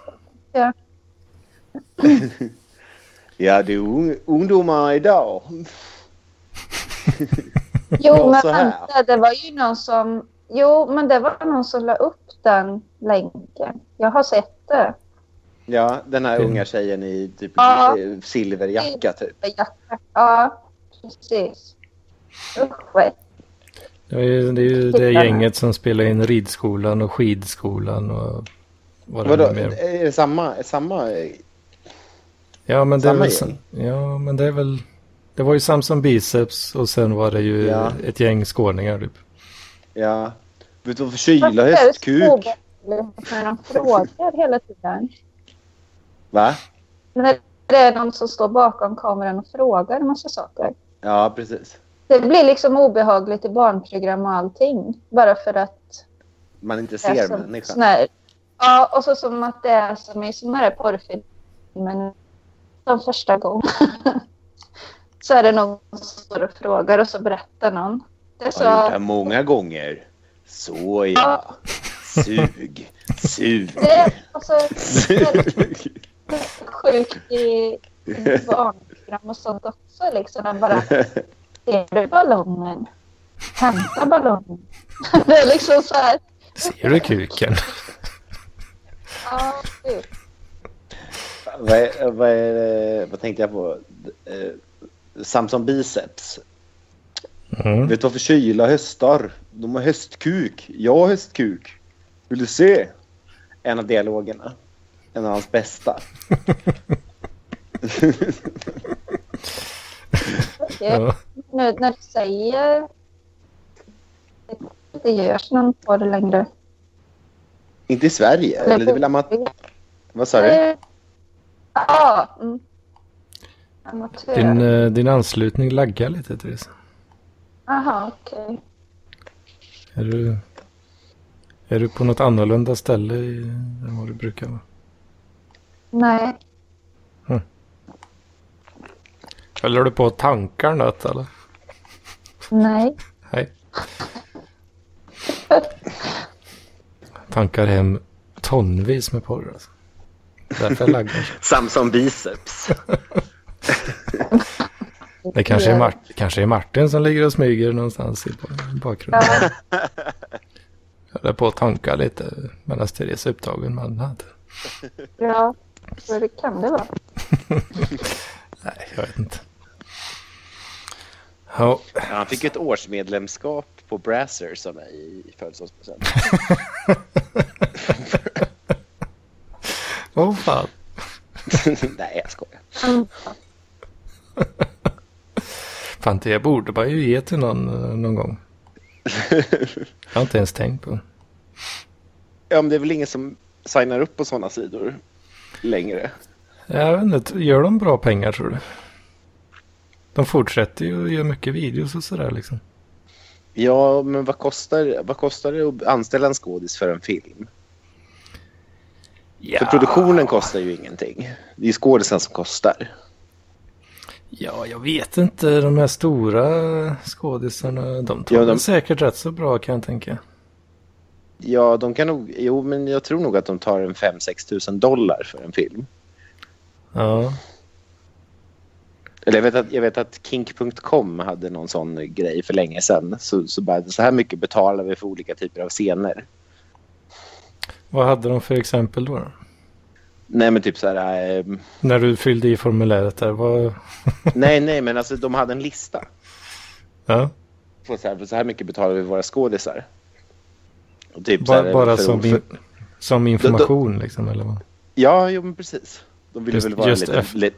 S1: Ja, du ung- ungdomar idag. Det
S3: jo,
S1: var
S3: men
S1: så här.
S3: vänta. Det var ju någon som... Jo, men det var någon som la upp den länken. Jag har sett det.
S1: Ja, den här
S2: Mm.
S1: unga tjejen i typ
S3: Ja.
S1: eh, silverjacka typ.
S3: Jacka. Ja, precis. Usch, vad äckligt.
S2: Det är, ju- det är ju det gänget som spelar in ridskolan och skidskolan och vad det
S1: Vadå,
S2: nu är mer.
S1: är det samma, samma?
S2: Ja men, det är
S1: samma
S2: väl,
S1: gäng?
S2: ja, men det är väl... Det var ju Samson Biceps och sen var det ju
S1: Ja.
S2: ett gäng skåningar typ.
S1: Ja. Vet du vad förkyla
S3: Varför är det så
S1: hästkuk?
S3: obehagligt När de frågar hela tiden.
S1: Va?
S3: När det är någon som står bakom kameran och frågar en massa saker.
S1: Ja, precis.
S3: Det blir liksom obehagligt i barnprogram och allting. Bara för att
S1: Man liksom. inte
S3: det är
S1: ser
S3: som
S1: människan.
S3: Alltså, sån här, Ja, och så som att det är som i såna här porrfilmer. Som första gången. så är det någon som står och frågar och så berättar någon. Det
S1: Har gjort det här
S3: sa,
S1: många gånger. Så ja. Sug. Sug.
S3: det är alltså
S1: Sug.
S3: sjukt i i barnprogram och sånt också. Liksom. De bara, ser du ballongen? Hämta ballongen. det är liksom så här.
S2: Ser du kuken?
S3: Ja, gud.
S1: vad, är, vad, är, det- vad tänkte jag på? Eh, Samson Biceps.
S2: Mm.
S1: Vet du vad förkyla höstar? De har höstkuk. Jag har höstkuk. Vill du se? En av dialogerna. En av hans bästa.
S3: okej.
S2: Ja.
S3: nu när du säger det görs någon porr längre.
S1: Inte i Sverige. Eller det är väl amat- Vad sa du?
S3: Eh, Ja. Mm. Amatör.
S2: Din, eh, din anslutning laggar lite Therese.
S3: Aha, okej.
S2: Är du, är du på något annorlunda ställe i, än vad du brukar vara?
S3: Nej.
S2: Eller är du på tankarna eller?
S3: Nej.
S2: Nej. Tankar hem tonvis med porr alltså. Därför laggar
S1: Samson Biceps.
S2: Det kanske är, Mart- kanske är Martin som ligger och smyger någonstans i ba- bakgrunden.
S3: Ja,
S2: Jag höll på att tanka lite medan Therese är upptagen med annat.
S3: ja. Så det kan det vara.
S2: Nej, jag vet inte. Ja,
S1: Ja, han fick ett årsmedlemskap på Brassers av mig i födelsedagspresent.
S2: åh fan.
S1: Nej, jag skojar.
S2: Fan, det borde man ju ge till någon eh, någon gång. Jag har inte ens tänkt på.
S1: Ja, men det är väl ingen som signar upp på sådana sidor längre.
S2: Jag vet inte, gör de bra pengar tror du? De fortsätter ju och gör mycket videos och sådär liksom.
S1: Ja, men vad kostar, vad kostar det att anställa en skådis för en film? För
S2: Ah.
S1: produktionen kostar ju ingenting. Det är ju skådisen som kostar.
S2: Ja, jag vet inte. De här stora skådisarna, de tar
S1: Ja, de-
S2: väl säkert rätt så bra kan jag tänka.
S1: Ja, de kan nog... Jo, men jag tror nog att de tar en 5-6 tusen dollar för en film.
S2: Ja,
S1: Eller jag vet att, jag vet att kink.com hade någon sån grej för länge sedan. Så, så bara, så här mycket betalar vi för olika typer av scener.
S2: vad hade de för exempel då? då?
S1: Nej, men typ så här... ehm,
S2: När du fyllde i formuläret där, vad...
S1: nej, nej, men alltså de hade en lista.
S2: Ja,
S1: På så här, för så här mycket betalar vi våra skådisar. Och typ så
S2: bara,
S1: här,
S2: bara
S1: för-
S2: som,
S1: för-
S2: in, som information liksom, eller vad?
S1: Ja, jo, men precis. De ville
S2: Just-
S1: väl vara
S2: just
S1: lite...
S2: F-
S1: Li,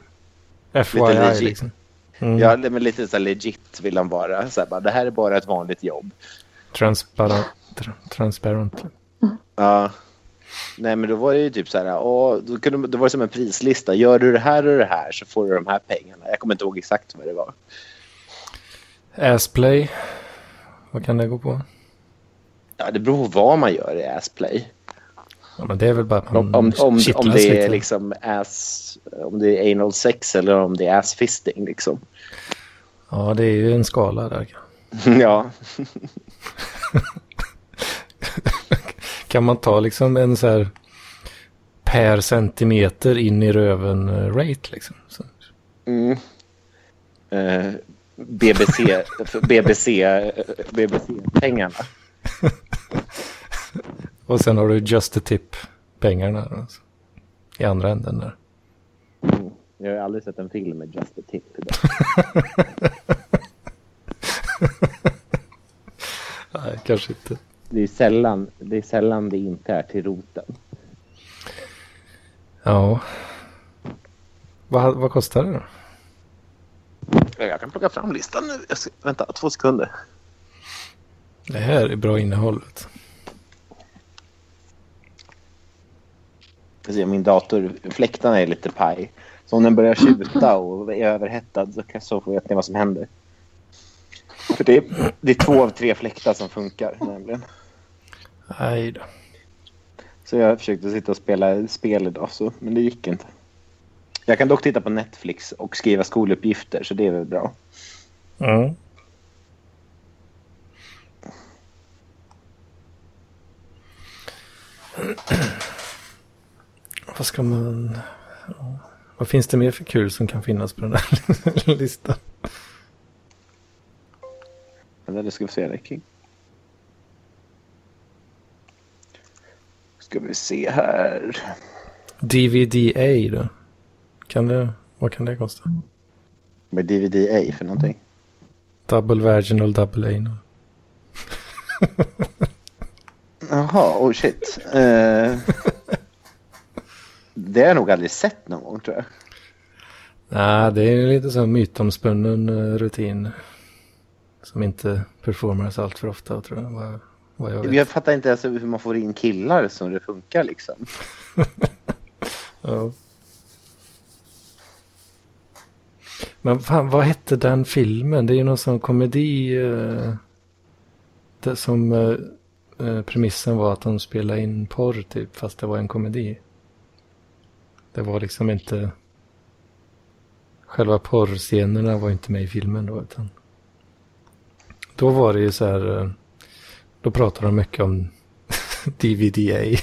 S2: FYI
S1: legit.
S2: liksom. Mm.
S1: ja, men lite så här legit vill de vara. Så här, bara, det här är bara ett vanligt jobb.
S2: Transparent. Tra- transparent.
S1: Ja. Nej, men då var det ju typ så här, åh, då, kunde, då var det som en prislista. Gör du det här och det här så får du de här pengarna. Jag kommer inte ihåg exakt vad det var.
S2: Assplay. Vad kan det gå på?
S1: Ja, det beror på vad man gör i assplay.
S2: Ja, men det är väl bara att
S1: Om,
S2: Mm, man
S1: om, om,
S2: kittlas
S1: om det
S2: lite.
S1: är liksom ass, om det är anal sex eller om det är assfisting liksom.
S2: Ja, det är ju en skala där.
S1: Ja,
S2: Kan man ta liksom en så här per centimeter in i röven eh, rate liksom? Så.
S1: Mm. Eh, BBC, för BBC, eh, BBC-pengarna.
S2: Och sen har du just the tip pengarna då, alltså. i andra änden där.
S1: Jag har ju aldrig sett en film med Just a Tip. idag.
S2: Nej, kanske inte.
S1: Det är sällan det, är sällan det inte är till roten.
S2: Ja. Vad, vad kostar det då?
S1: Jag kan plocka fram listan nu. Jag ska, vänta, två sekunder.
S2: Det här är bra innehåll. vet du.
S1: Jag ser, min dator, fläktarna är lite paj. Så om den börjar tjuta och är överhettad så, kan- så vet ni vad som händer. För det är, det är två av tre fläktar som funkar nämligen.
S2: Nej då.
S1: Så jag försökte sitta och spela spel idag, så, men det gick inte. Jag kan dock titta på Netflix och skriva skoluppgifter, så det är väl bra.
S2: Mm. Vad ska man... ja, Vad finns det mer för kul som kan finnas på den här listan?
S1: Vänta, det ska vi se. Där. King. Ska vi se här.
S2: DVDA då? Kan det, vad kan det kosta?
S1: Med DVD-A för någonting.
S2: Double Vaginal Double Anal.
S1: Jaha, oh shit. Eh, det har jag nog aldrig sett någon gång, tror jag.
S2: Nej, det är lite sån mytomspunnen eh, rutin. Som inte performas allt för ofta tror jag. Vad, vad jag vet.
S1: Jag fattar inte ens hur man får in killar som det funkar liksom.
S2: Ja. Men fan, vad hette den filmen? Det är ju någon sån komedi. Eh, där som eh, eh, premissen var att de spelade in porr typ, fast det var en komedi. Det var liksom inte... Själva porrscenerna var inte med i filmen då, utan... Då var det ju så här... eh, Då pratade de mycket om DVDA.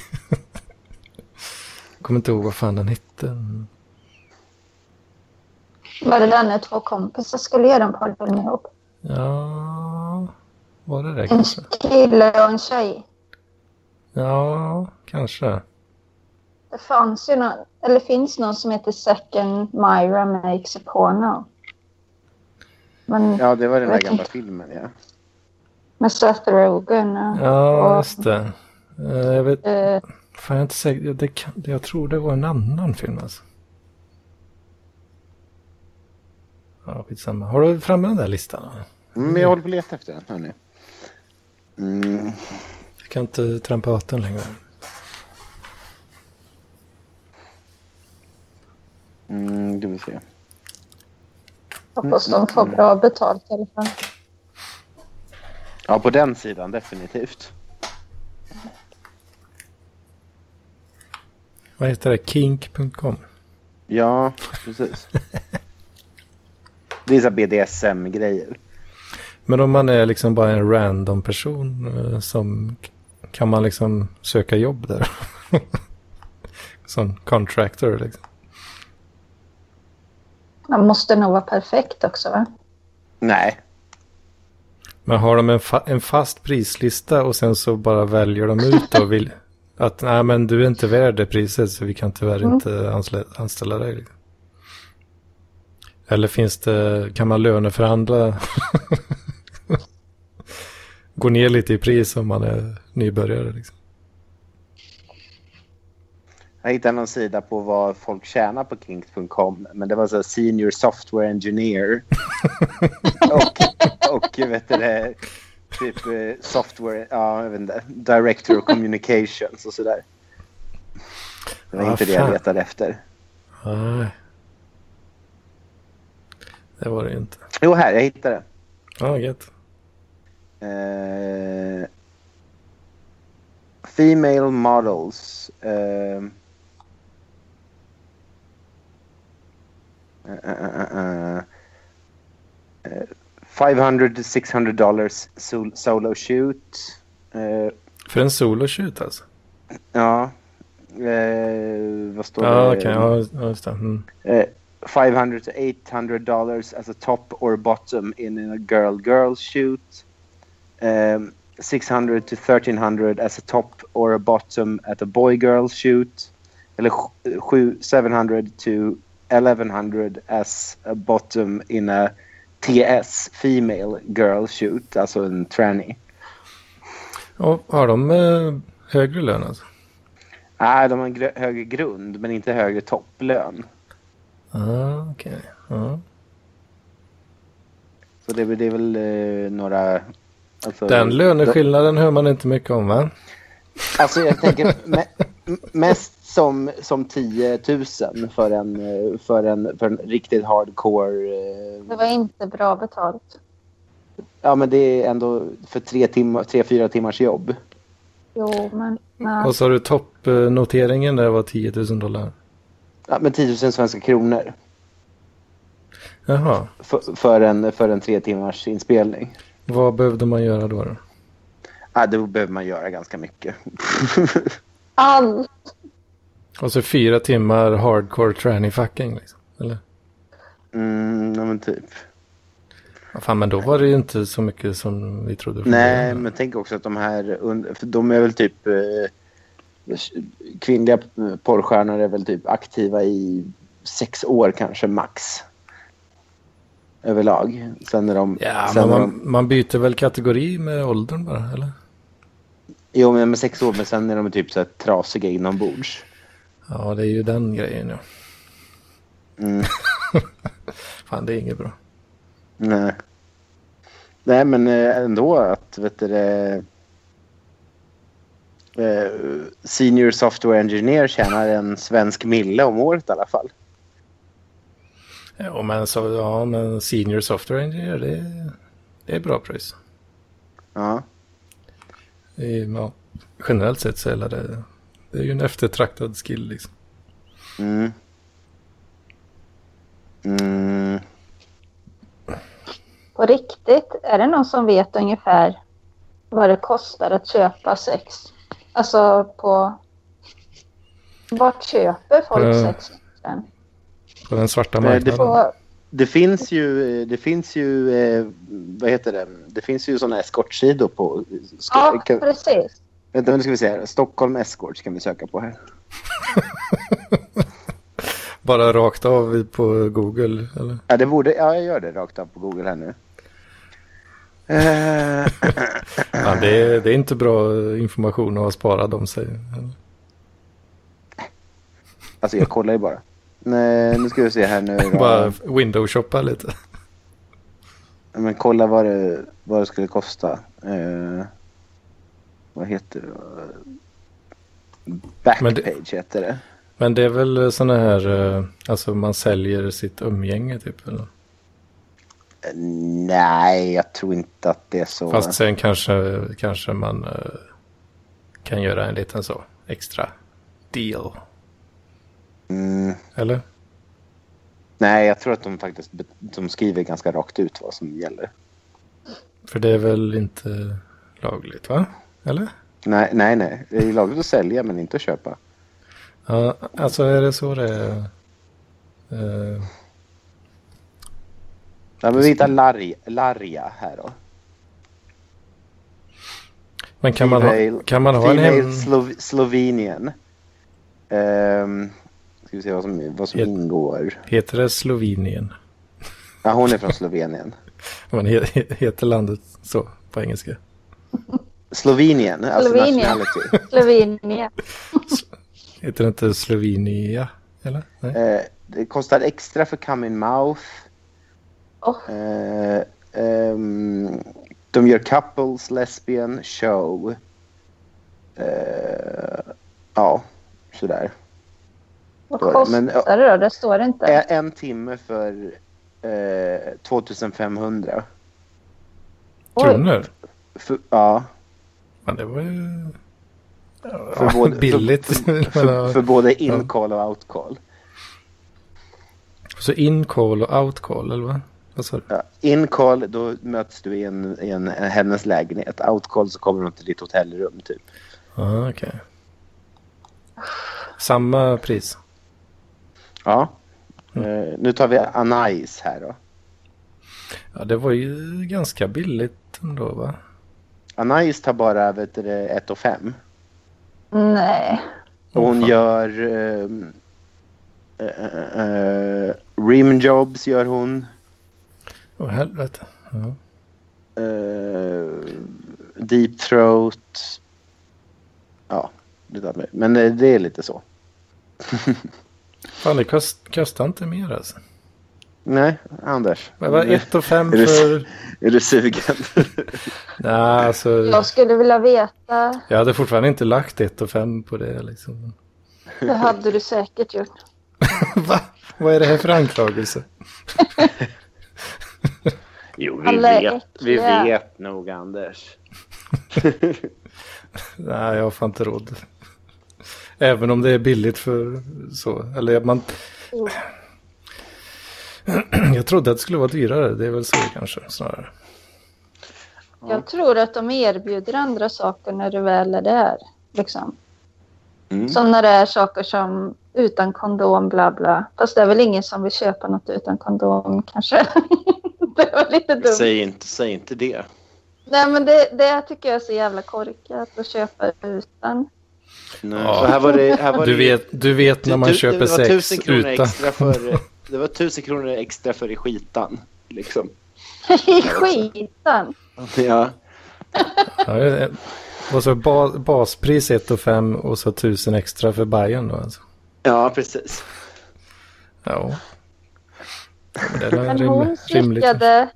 S2: Kommer inte ihåg vad fan den hette.
S3: Var det där när två kompisar skulle göra en porrfilm ihop?
S2: Ja, var det det
S3: En
S2: kanske?
S3: kille och en tjej.
S2: Ja, kanske.
S3: Det fanns ju någon, eller finns någon som heter Second Myra Makes a Porno. Men
S1: Ja, det var den där
S3: Jag
S1: gamla
S3: tänkte-
S1: filmen ja.
S3: med Seth Rogen och...
S2: Ja,
S3: och,
S2: just det. Eh, Jag vet
S3: eh,
S2: fan, jag är inte säker. Det kan, jag tror det var en annan film alltså. Ja, skitsamma. Har du framme den där listan?
S1: Mm, men jag håller på att leta efter den. Hörni. Mm.
S2: Jag kan inte trampa åt den längre.
S1: Mm, du vill se.
S3: hoppas de får bra betalt i alla fall.
S1: Ja, på den sidan definitivt.
S2: Vad heter det? Kink.com.
S1: Ja, precis. Det är så här BDSM-grejer.
S2: Men om man är liksom bara en random person eh, som kan man liksom söka jobb där? som contractor liksom.
S3: Man måste nog vara perfekt också va?
S1: Nej.
S2: Men har de en, fa- en fast prislista och sen så bara väljer de ut och vill att nej men du är inte värd det priset så vi kan tyvärr inte ansla- anställa dig. Liksom. Eller finns det, kan man löneförhandla? Gå ner lite i pris om man är nybörjare liksom.
S1: Jag hittade någon sida på vad folk tjänar på kink.com. Men det var så här senior software engineer. och, och vet du det, typ eh, software, ja jag vet inte, director of communications och sådär. Det var
S2: Ah,
S1: inte det jag
S2: fan.
S1: letade efter.
S2: Nej. Det var det ju inte.
S1: Jo, här, jag hittade det.
S2: Ja, ah, gött.
S1: Eh, female models. Eh, eh, eh, eh, eh, 500 to 600 dollars sol- solo shoot. Eh,
S2: För en soloshoot alltså?
S1: ja. Eh, vad står
S2: Ja, ah,
S1: det?
S2: okej. Ja, ja, just det. Mm.
S1: Eh, 500 to 800 dollars as a top or bottom in a girl girl shoot. Um, 600 to 1300 as a top or a bottom at a boy girl shoot. Eller sj- sju- 700 to 1100 as a bottom in a TS female girl shoot, alltså en tranny.
S2: Och har de eh, högre lön alltså?
S1: Nej, Ah, de har en gr- högre grund men inte högre topplön.
S2: Ah, okej. Ja.
S1: Så det, är- det är väl eh, några... Alltså,
S2: Den
S1: de-
S2: löneskillnaden hör man inte mycket om va?
S1: Alltså jag tänker me- m- mest som, som 10 000 för en, eh, för en, för en riktigt hardcore. eh,
S3: Det var inte bra betalt.
S1: Ja men det är ändå för tre, timmar, tre fyra timmars jobb.
S3: Jo, men... Nej.
S2: Mm. Och så har du toppnoteringen där var 10 000 dollar.
S1: Ja, men 10 000 svenska kronor
S2: Jaha,
S1: för, för, en, för en tre timmars inspelning.
S2: vad behövde man göra då? då?
S1: Ja, det behöver man göra ganska mycket.
S3: Allt!
S2: Och så fyra timmar hardcore tranny fucking liksom. Eller?
S1: Mm, ja, men typ.
S2: Ja, fan men då var det ju inte så mycket som vi trodde. från
S1: Nej,
S2: början.
S1: men tänk också att de här, und- för de är väl typ, eh, kvinnliga porrstjärnor är väl typ aktiva i sex år kanske max. Överlag. Sen är de...
S2: Ja,
S1: sen
S2: men
S1: är
S2: man,
S1: de
S2: man byter väl kategori med åldern bara eller?
S1: jo, men med sex år, men sen är de typ så här trasiga inombords.
S2: Ja, det är ju den grejen ja.
S1: Mm.
S2: Fan, det är inget bra.
S1: Nej. Nej, men eh, ändå att, vet du det, eh, Senior software engineer tjänar en svensk mille om året i alla fall.
S2: Ja, men, så, ja, men senior software engineer, det, är- det är bra pris.
S1: Ja.
S2: Det är, ja, generellt sett så är det, det är ju en eftertraktad skill liksom.
S1: Mm. Mm.
S3: På riktigt, är det någon som vet ungefär vad det kostar att köpa sex? Alltså på... Vart köper folk
S2: Eh.
S3: sex? egentligen?
S2: På den svarta
S1: Nej, det
S2: marknaden.
S3: På,
S1: Det finns ju, det finns ju, eh, vad heter det, det finns ju sådana eskortsidor på... Ska,
S3: Ja,
S1: kan,
S3: precis.
S1: vänta, nu ska vi se här. Stockholm Escorts kan vi söka på här.
S2: Bara rakt av på Google? Eller?
S1: Ja, det borde, ja jag gör det rakt av på Google här nu. Eh,
S2: Ja, det, är, det är inte bra information att ha sparad om sig. Eller?
S1: alltså jag kollar ju bara. Nej, nu ska vi se här nu. då.
S2: Bara windowshoppa lite.
S1: Men kolla vad det, vad det skulle kosta. Eh, vad heter det?
S2: Men det-
S1: Backpage heter det.
S2: Men det är väl sådana här, eh, alltså man säljer sitt umgänge typ. Eller?
S1: Eh, Nej, jag tror inte att det är så.
S2: Fast sen kanske, kanske man eh, kan göra en liten så extra deal.
S1: Mm,
S2: Eller?
S1: nej, jag tror att de faktiskt be- de skriver ganska rakt ut vad som gäller.
S2: För det är väl inte lagligt va? Eller?
S1: Nej, nej, nej. Det är ju lagligt att sälja men inte att köpa.
S2: Ja, alltså är det så det är? Eh,
S1: Ja, men vi hittar Larry, Larja här då.
S2: men kan man, ha,
S1: Female-
S2: kan man ha en
S1: Female
S2: hem...
S1: Slo- Slovenien. Ehm, ska vi se vad som, vad som
S2: Helt-
S1: ingår.
S2: Heter det Slovenien?
S1: Ja, hon är från Slovenien.
S2: Man he- heter landet så på engelska?
S1: Slovenien, alltså
S3: Slovenien.
S1: nationality.
S3: Slovenien.
S2: Heter det inte Slovenia? Eller? Nej.
S1: Eh, det kostar extra för come in mouth.
S3: Oh,
S1: Eh, ehm, de gör couples, lesbian, show. Eh, ja, sådär.
S3: vad
S1: Var det,
S3: kostar
S1: men, ja.
S3: det då? Det står inte.
S1: Eh, En timme för eh, 2500. Eh,
S3: Oj,
S2: Kronor?
S1: För, ja,
S2: Men det var ju...
S1: för,
S2: Ja,
S1: både,
S2: billigt.
S1: För, för,
S2: Men, ja.
S1: för, för både in-call och out-call.
S2: Så in-call och out-call, eller vad? Vad sa du?
S1: Ja, in-call, då möts du i, en, i en, hennes lägenhet. Out-call så kommer de till ditt hotellrum typ.
S2: Ja, okej. Samma pris.
S1: Ja. Eh, nu tar vi Anais här då.
S2: Ja, det var ju ganska billigt ändå, va?
S1: Anais tar bara vet du, det, 1 och 5.
S3: nej.
S1: Och hon
S2: Fan.
S1: gör... ehm, Eh, eh, rimjobs gör hon.
S2: Åh, helvete. Ja.
S1: Eh, deep throat. Ja, det där med. men eh, det är lite så.
S2: Fan, det kost, kostar inte mer alltså.
S1: Nej, Anders.
S2: Men vad, ett och fem
S1: Är det-
S2: för...
S1: Är du sugen?
S2: Nej, alltså...
S3: Jag skulle vilja veta.
S2: Jag hade fortfarande inte lagt ett och fem på det liksom.
S3: Det hade du säkert gjort.
S2: Va? Vad är det här för anklagelse?
S1: jo,
S3: vi Alla är vet- vi äckliga.
S1: nog Anders.
S2: Nej, jag har fan inte råd. Även om det är billigt för så. Eller man...
S1: Mm.
S3: Jo.
S2: Jag trodde att det skulle vara dyrare. Det är väl så kanske snarare.
S3: Jag tror att de erbjuder andra saker när du väl är där. Liksom.
S1: Mm.
S3: Som när det är saker som utan kondom, bla bla. Fast det är väl ingen som vill köpa något utan kondom kanske. det var lite dumt.
S1: Säg inte, säg inte det.
S3: Nej men det, det tycker jag är så jävla korkat att köpa utan.
S1: Nej.
S2: Ja.
S1: Så här var det, här var
S2: Du
S1: det,
S2: vet, du vet när man
S1: det-
S2: köper
S1: det var
S2: sex
S1: 1000 kronor
S2: utan.
S1: Extra för, det var tusen kronor extra för i skitan. Liksom.
S3: I skiten!
S1: Ja.
S2: Ja, det var så ba, baspris 1 och 5 och så 1000 extra för Bayern då alltså.
S1: ja, precis.
S2: Ja. Ja, Men det är väl
S3: Men
S2: rim,
S3: hon
S2: rimligt.
S3: slickade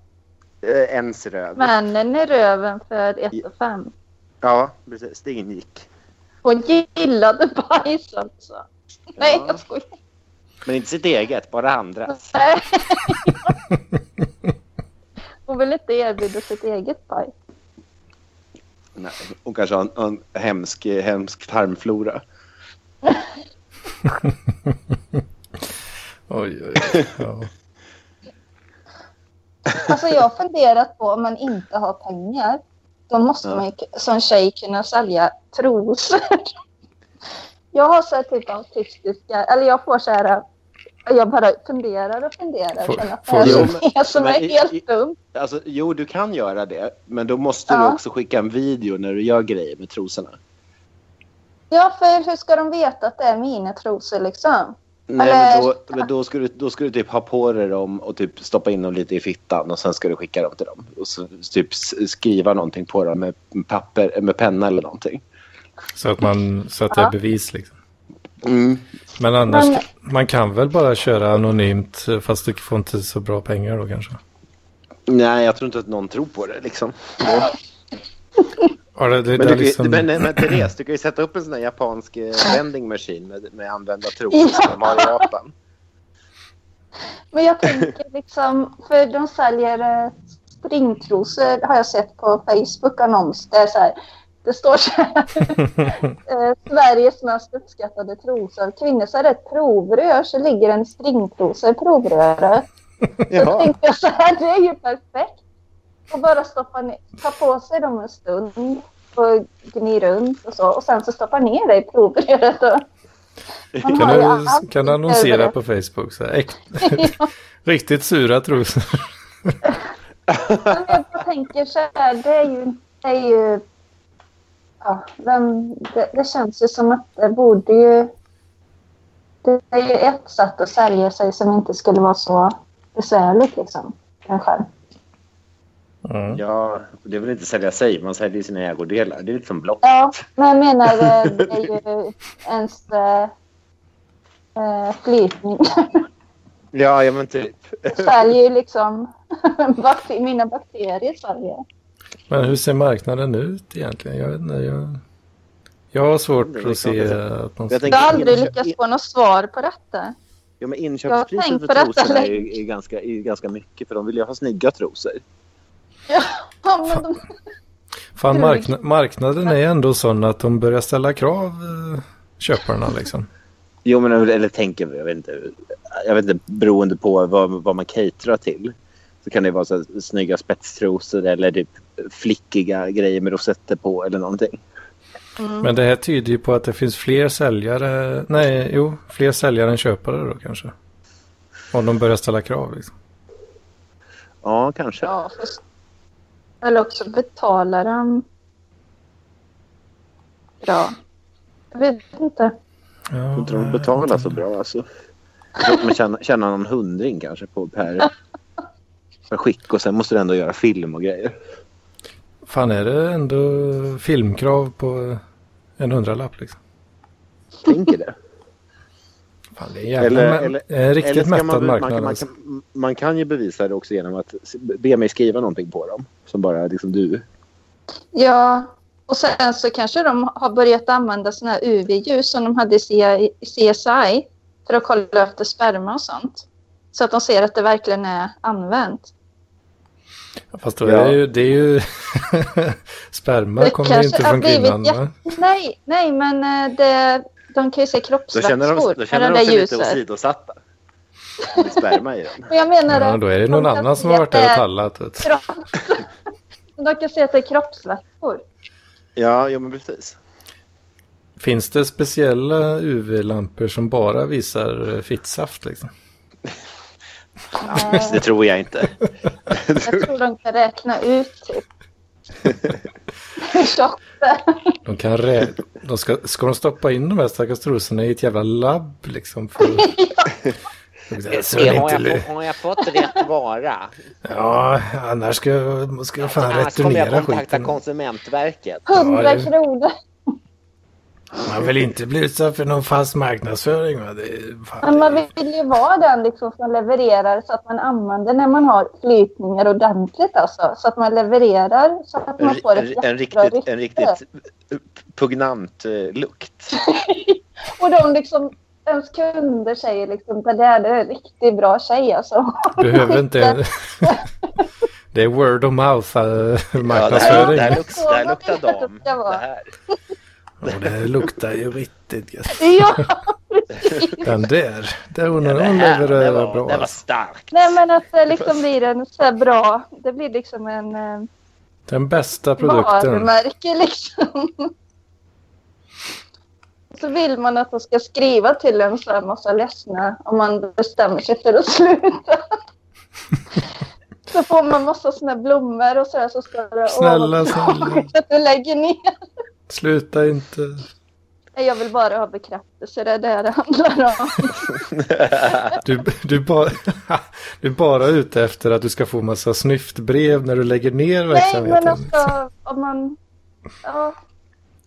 S1: Eh, Ens röv.
S3: männen i röven för 1 5.
S1: Ja, precis. Det ingick.
S3: Hon gillade bajs alltså. Nej
S1: Ja.
S3: jag skojar.
S1: Men inte sitt eget, bara andras.
S3: Nej. Hon vill inte erbjuda sitt eget bajs.
S1: Nej. Hon kanske har en, en hemsk, hemsk tarmflora.
S2: Oj, oj, oj. Ja.
S3: Alltså jag har funderat på om man inte har pengar. Då måste
S1: Ja.
S3: man ju k- som tjej kunna sälja trosor. Jag har så här typ autistiska, eller jag får så här Jag bara funderar och funderar
S2: Får-
S3: och känner att det
S2: får
S3: här
S1: du-
S3: är jag som
S1: Men
S3: är
S1: i- i-
S3: helt dum.
S1: Alltså, jo, du kan göra det, men då måste du
S3: Ja.
S1: också skicka en video när du gör grejer med trosorna.
S3: Ja, för hur ska de veta att det är mina trosor liksom?
S1: Nej, men
S3: Eller-
S1: då, men då, ska du, då ska du typ ha på dig dem och typ stoppa in dem lite i fittan och sen ska du skicka dem till dem. Och så typ s- skriva någonting på dem med papper, med penna eller någonting.
S2: Så att, man, så att det är bevis liksom.
S1: Mm.
S2: Men annars,
S3: Men-
S2: man kan väl bara köra anonymt eh, fast du får inte så bra pengar då kanske.
S1: Nej, jag tror inte att någon tror på det liksom.
S2: Ja,
S1: Men,
S2: det, det, det
S1: du,
S2: är
S1: kan ju-
S2: liksom...
S1: men, nej, men Therese, du kan ju sätta upp en sån här japansk eh, vending machine med, med använda trosor
S3: Ja.
S1: som de har i Japan.
S3: Men jag tänker liksom, för de säljer eh, stringtrosor har jag sett på Facebook annons. Det, är så här, det står så här. eh, Sveriges mest uppskattade trosor. Kvinnor så är det ett provrör så ligger en stringtrosa i provröret. Då
S1: Jaha.
S3: tänkte jag så här, det är ju perfekt. Och bara stoppa ner, ta på sig dem en stund och gni runt och så. Och sen så stoppa ner det i provröret. Och man
S2: Kan
S3: har ju
S2: du,
S3: allt
S2: kan du annonsera på Facebook? Så här, äkt- Riktigt sura trosor.
S3: Men jag bara tänker så här, det är ju... Det, är ju ja, vem, det, det känns ju som att det borde ju... Det är ju ett sätt att sälja sig som inte skulle vara så besvärligt liksom. Kanske.
S2: Mm.
S1: Ja, det är väl inte sälja sig, man säljer sina ägodelar. Det är lite som block.
S3: Ja, men jag menar eh, det är ju ens eh, eh, flytning.
S1: Ja, ja men typ.
S3: Det säljer ju liksom bakter- mina bakterier säljer.
S2: Men hur ser marknaden ut egentligen? Jag vet inte. Jag, jag har svårt
S1: Det är
S2: att se
S1: klart
S2: att man...
S1: Jag
S3: Jag har
S1: tänker-
S3: aldrig lyckats få något svar på detta.
S1: Ja, men
S3: Jag har
S1: inköpspriset
S3: tänkt
S1: för
S3: på detta
S1: trosorna är,
S3: länge.
S1: ju- är, ganska, är ju ganska mycket för de vill ju ha snygga trosor.
S3: Ja, men de
S2: Fan, markna, marknaden är ändå sån att de börjar ställa krav, eh, köparna liksom.
S1: Jo, men eller tänker jag vet inte. Jag vet inte beroende på vad, vad man caterar till. Så kan det vara så här, snygga spetstrosor eller typ flickiga grejer med rosetter på eller någonting.
S3: Mm.
S2: Men det här tyder ju på att det finns fler säljare, nej, jo, fler säljare än köpare då kanske. Om de börjar ställa krav liksom.
S1: Ja, kanske.
S3: Ja, fast- Eller också betalar de bra. Jag vet inte.
S2: Ja,
S1: Jag tror inte de betalar så bra alltså. Jag tror att man tjänar, tjänar någon hundring kanske på per, per skick och sen måste du ändå göra film och grejer.
S2: Fan, är det ändå filmkrav på en hundralapp liksom?
S1: Tänker det.
S2: Fan, det är en jävla, mä- en eh, riktigt
S1: ska
S2: mättad
S1: man,
S2: marknad.
S1: Man, man,
S2: alltså.
S1: kan, man kan ju bevisa det också genom att s- be mig skriva någonting på dem. Som bara liksom du.
S3: Ja, och sen så kanske de har börjat använda såna här UV-ljus som de hade i CI CSI för att kolla efter sperma och sånt. Så att de ser att det verkligen är använt.
S2: Fast då
S1: Ja.
S2: är det ju... Det är ju sperma
S3: Det
S2: kommer ju
S3: kanske
S2: inte
S3: har
S2: från
S3: blivit
S2: kvinnan.
S3: jätte-
S2: va?
S3: Nej, nej men eh, det, de kan ju se
S1: Då känner de,
S3: kroppsvätskor
S1: då
S3: med
S1: känner de
S3: det där
S1: sig lite
S3: ljuset.
S1: åsidosatta. Det är sperma i den.
S3: Men jag menar
S2: Ja,
S3: att
S2: då är det någon
S3: de kan
S2: annan som
S3: se
S2: har varit
S3: att
S2: där
S3: det
S2: och
S3: är
S2: tallat. Vet. du.
S3: kropp. De kan se att det är kroppsvätskor.
S1: Ja, ja men precis.
S2: Finns det speciella UV-lampor som bara visar eh, fittsaft? Liksom?
S3: Eh,
S1: Det tror jag inte.
S3: Jag tror de kan räkna ut typ. hur tjockt det är.
S2: De kan rä... de ska... ska de stoppa in de här stackars trosorna i ett jävla labb? Liksom, för... Så det inte lu-
S4: Eh, har jag fått rätt vara?
S2: Ja, annars ska jag, ska jag fan returnera skiten.
S4: Konsumentverket.
S3: 100
S2: Ja, det-
S3: kronor.
S2: Man vill inte bli utsatt för någon fast marknadsföring. Va? Det är,
S3: Men
S2: fan,
S3: man
S2: det är...
S3: vill ju vara den liksom som levererar så att man använder när man har flytningar ordentligt alltså. Så att man levererar så att
S1: En,
S3: man får
S1: en,
S3: ett
S1: en,
S3: jättebra
S1: riktigt,
S3: rykte.
S1: en riktigt pugnant eh, lukt.
S3: Och de liksom, ens kunder säger liksom det där det är en riktigt bra tjej alltså.
S2: Behöver inte... det är word of mouth eh,
S1: Ja, det här,
S2: marknadsföring.
S1: det här,
S3: Jag
S1: luk,
S3: förstår
S1: det här
S3: vad
S1: luktar
S3: det är att
S1: dam.
S3: det ska vara.
S1: Det här.
S2: Och det luktar ju riktigt gött.
S3: Ja, precis.
S2: Den där, där hon,
S1: Det
S2: hon
S1: här det
S2: levererar
S1: var, det
S2: bra.
S1: var
S2: alltså.
S1: starkt.
S3: Nej men att det liksom blir en så här bra, det blir liksom en eh,
S2: Den bästa produkten.
S3: varumärke liksom. så vill man att de ska skriva till en så här massa ledsna om man bestämmer sig för att sluta. så får man massa såna här blommor och sådär så står det
S2: Snälla,
S3: "Åh, vad
S2: snälla."
S3: tråkigt att du lägger ner.
S2: Sluta inte.
S3: Nej, Jag vill bara ha bekräftelse, det är det det handlar om.
S2: Du, du, bara, du är bara ute efter att du ska få massa snyftbrev när du lägger ner
S3: Nej,
S2: verksamheten.
S3: men alltså om man... Ja,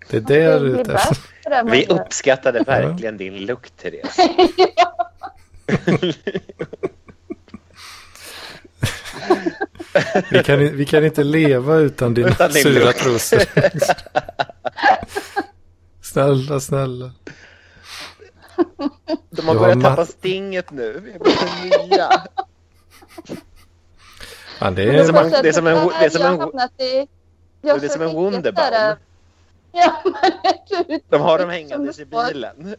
S2: det är det du är ute
S3: blir
S2: efter.
S3: bäst på det man
S1: Vi
S3: gör.
S1: uppskattade verkligen din lukt, Therese.
S2: Vi kan, vi kan inte leva utan dina
S1: Utan din
S2: sura
S1: lukt.
S2: trosor. snälla, snälla.
S1: De har
S2: Ja,
S1: börjat
S2: ma-
S1: tappa stinget nu. Vi behöver nya.
S2: Ja, det
S3: Men
S2: är,
S1: som
S3: var
S1: en-
S3: så här,
S1: det är som en- det är som
S3: jag har
S1: en-
S3: hamnat i- jag
S1: det är
S3: så
S1: som en
S3: fick
S1: Wunderbaum.
S3: ett sådär- Ja, men ett uttryck
S1: De har dem
S3: som
S1: hängandes
S3: det
S1: i
S3: står-
S1: bilen.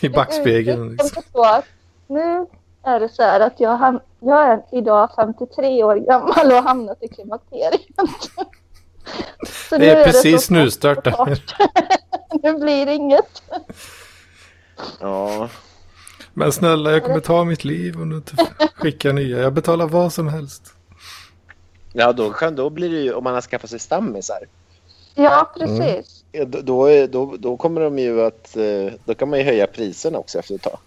S2: i backspegeln.
S3: uttryck
S2: Liksom.
S3: som det står, Nu är det så här att jag, ham- jag är idag 53 år gammal och har hamnat i klimakteriet.
S2: Det
S3: Så nu
S2: är
S3: så
S2: precis
S3: snabbt och
S2: snustört det här.
S3: torrt. Nu blir det inget.
S1: Ja.
S2: Men snälla, jag kommer ta mitt liv om du inte skickar nya. Jag betalar vad som helst.
S1: Ja, då, kan- då blir det ju, om man har skaffat sig stammisar,
S3: Ja, precis.
S1: eh, då, då, är- då, då kommer de ju att, eh, då kan man ju höja priserna också efter ett tag.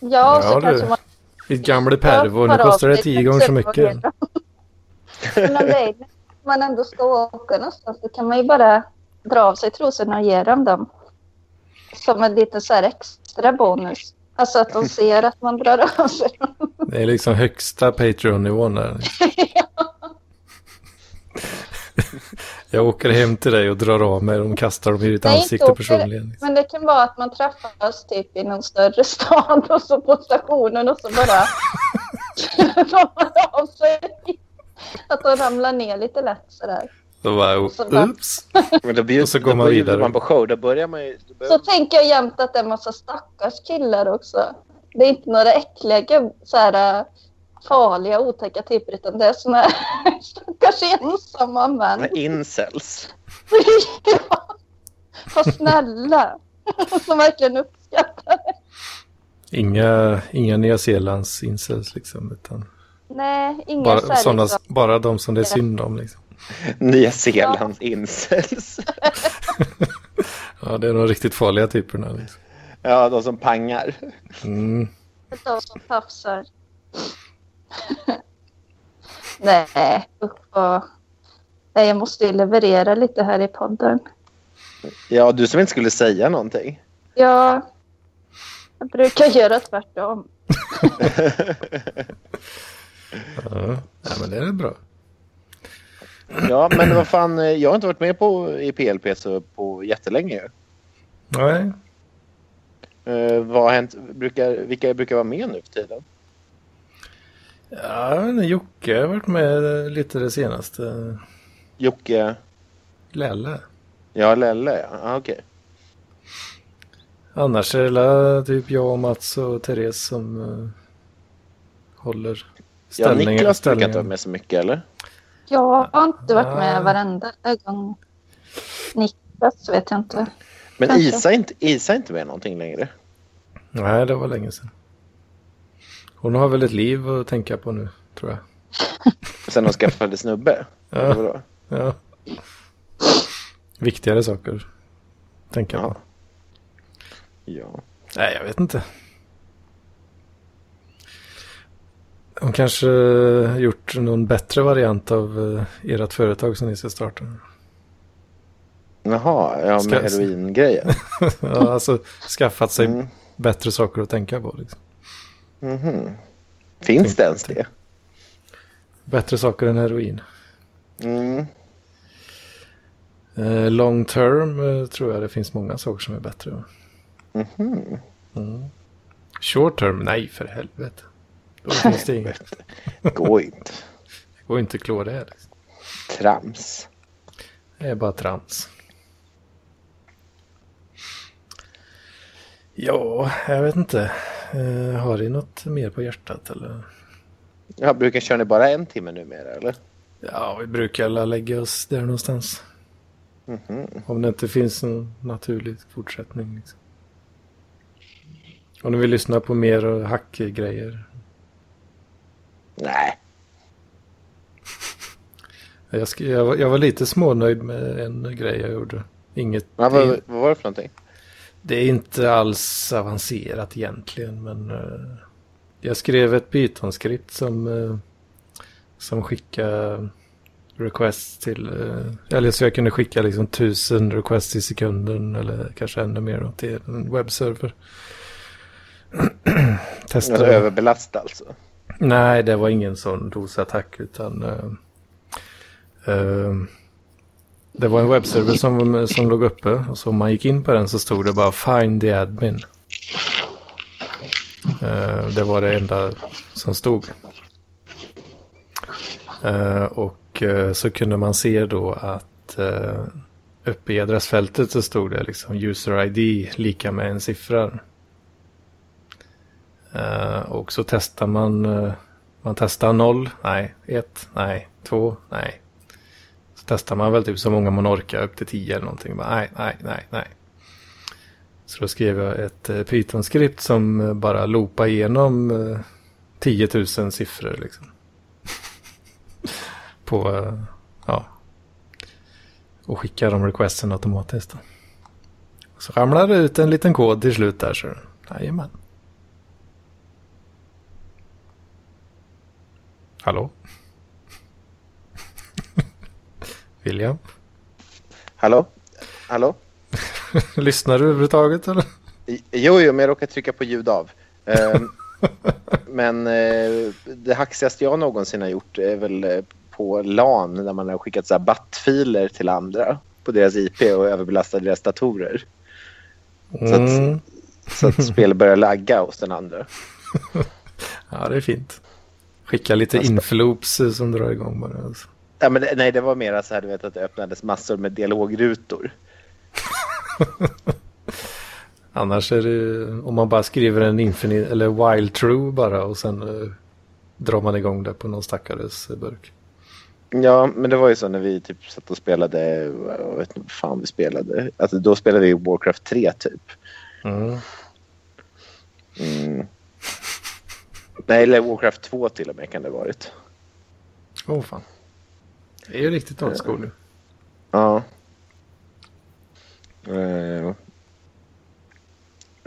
S3: Ja, och
S2: Mm. Ja,
S3: så
S2: du.
S3: kanske man
S2: Ditt gamle pervo, nu
S3: tar av
S2: kostar det
S3: sig
S2: tio gånger så mycket.
S3: kalsongerna. Men om det är, när man ändå ska åka någonstans så kan man ju bara dra av sig trosorna och ge dem dem. Som en liten så här extra bonus. Alltså att de ser att man drar av sig dem.
S2: Det är liksom högsta Patreon-nivån där. Jag åker hem till dig och drar av mig och kastar dem i ditt
S3: Nej, inte
S2: ansikte
S3: åker.
S2: personligen. liksom.
S3: Men det kan vara att man träffas typ i någon större stad och så på stationen och så bara drar man av sig. Att de ramlar ner lite lätt sådär.
S2: Då bara,
S3: Så bara-
S2: oops.
S1: Men då blir,
S2: Och så går
S1: då
S2: man
S1: blir-
S2: vidare.
S1: man på show, då börjar man ju... Då börjar
S3: Så tänker jag jämt att det är en massa stackars killar också. Det är inte några äckliga, gubb- så här, äh, farliga, otäcka typer utan det är såna här stackars ensamma män.
S1: man incels.
S3: Ja. Fast snälla. Som verkligen uppskattar.
S2: Inga, inga Nya Zeelands incels liksom. Utan
S3: Nej, inga
S2: bara,
S3: så här
S2: sådana,
S3: liksom.
S2: bara de som det är synd om liksom.
S1: Nya Zeelands incels.
S2: Ja, det är de riktigt farliga typerna. Liksom.
S1: Ja, de som pangar.
S2: Mm.
S3: De som tafsar. Nej, usch vad... Nej, jag måste ju leverera lite här i podden.
S1: Ja, du som inte skulle säga någonting.
S3: Ja, jag brukar göra tvärtom.
S2: Ja. ja, men det är bra.
S1: Ja, men vad fan, eh, jag har inte varit med på i PLP så på jättelänge. ju.
S2: Nej,
S1: Eh, vad har hänt? Brukar, vilka brukar vara med nu för tiden?
S2: ja, men Jocke har varit med lite det senaste.
S1: Jocke?
S2: Lelle.
S1: Ja, Lelle ja. Ah, okej.
S2: Annars är det la- typ jag och Mats och Therese som eh, håller
S1: Ja,
S2: ställningen.
S1: Niklas brukar inte
S2: ställningen.
S1: vara med så mycket eller?
S3: Jag har inte varit med
S2: Ah.
S3: varenda gång. Niklas vet jag inte.
S1: Men
S3: Kanske.
S1: Isa är inte, Isa är inte med någonting längre.
S2: Nej, det var länge sedan. Hon har väl ett liv att tänka på nu, tror jag.
S1: Sen hon skaffade snubbe. Eller
S2: Ja,
S1: vadå?
S2: ja. Viktigare saker att tänka
S1: Ja.
S2: på.
S1: Ja.
S2: Nej, jag vet inte. Hon kanske eh, gjort någon bättre variant av eh, ert företag som ni ska starta.
S1: Jaha, ja
S2: Ska-
S1: med heroingrejen.
S2: ja, alltså skaffat sig
S1: Mm.
S2: bättre saker att tänka på. Liksom.
S1: Mhm. Finns det ens det?
S2: Bättre saker än heroin.
S1: Mm.
S2: Eh, long term eh, tror jag det finns många saker som är bättre.
S1: Mhm.
S2: Mm. Short term, nej för helvete. Då finns det inget.
S1: Gå inte.
S2: Det går inte att klå det. här, Liksom.
S1: Trams.
S2: Det är bara trams. Ja, jag vet inte. Eh, har ni något mer på hjärtat eller?
S1: Ja, brukar köra ni bara en timme numera eller?
S2: Ja, vi brukar alla lägga oss där någonstans.
S1: Mhm.
S2: Om det inte finns en naturlig fortsättning. Liksom. Om ni vill lyssna på mer eh, hackgrejer.
S1: Nej.
S2: Jag, sk- jag, var- jag var lite smånöjd med en grej jag gjorde. Inget,
S1: Ja, vad, vad var det för någonting?
S2: Det är inte alls avancerat egentligen, men eh, jag skrev ett Python-skript som, eh, som skickar requests till, eh, eller så jag kunde skicka liksom tusen requests i sekunden eller kanske ännu mer då, till en webbserver. Testa.
S1: Alltså, överbelastad alltså.
S2: Nej, det var ingen sån dosattack utan eh, eh, det var en webbserver som, som låg uppe och så om man gick in på den så stod det bara find the admin. Eh, det var det enda som stod. Eh, och eh, så kunde man se då att eh, uppe i adressfältet så stod det liksom user ID lika med en siffra. Eh, och så testar man. eh, man testar 0, nej, 1, nej, 2, nej. Så testar man väl typ så många man orkar, upp till 10 eller någonting. Bara, nej, nej, nej, nej. Så då skrev jag ett eh, Python-skript som eh, bara loopar igenom eh, 10 000 siffror liksom. På, eh, ja. Och skickar de requesten automatiskt. Då. Så ramlar det ut en liten kod till slut där. Så, jajamän. Hallå? William?
S1: Hallå? Hallå?
S2: Lyssnar du överhuvudtaget eller?
S1: I- Jo, jo, men jag råkade trycka på ljud av. Ehm, men eh, det haxigaste jag någonsin har gjort är väl eh, på LAN när man har skickat så här BAT-filer till andra på deras IP och överbelastat deras datorer. att-
S2: Mm.
S1: Så att spelet börjar lagga hos den andra.
S2: Ja, det är fint. Skicka lite
S1: Nästa.
S2: infloops eh, som drar igång bara. Alltså.
S1: Ja, men det, nej, det var mer så här du vet, att det öppnades massor med dialogrutor.
S2: Annars är det om man bara skriver en infinite eller while true bara och sen eh, drar man igång det på någon stackares eh, burk.
S1: Ja, men det var ju så när vi typ satt och spelade, jag vet inte vad fan vi spelade. Alltså då spelade vi Warcraft 3 typ.
S2: Mm.
S1: Mm. Nej, eller Warcraft 2 till och med kan det ha varit.
S2: Åh fan. Det är ju riktigt old school nu.
S1: Ja. Eh,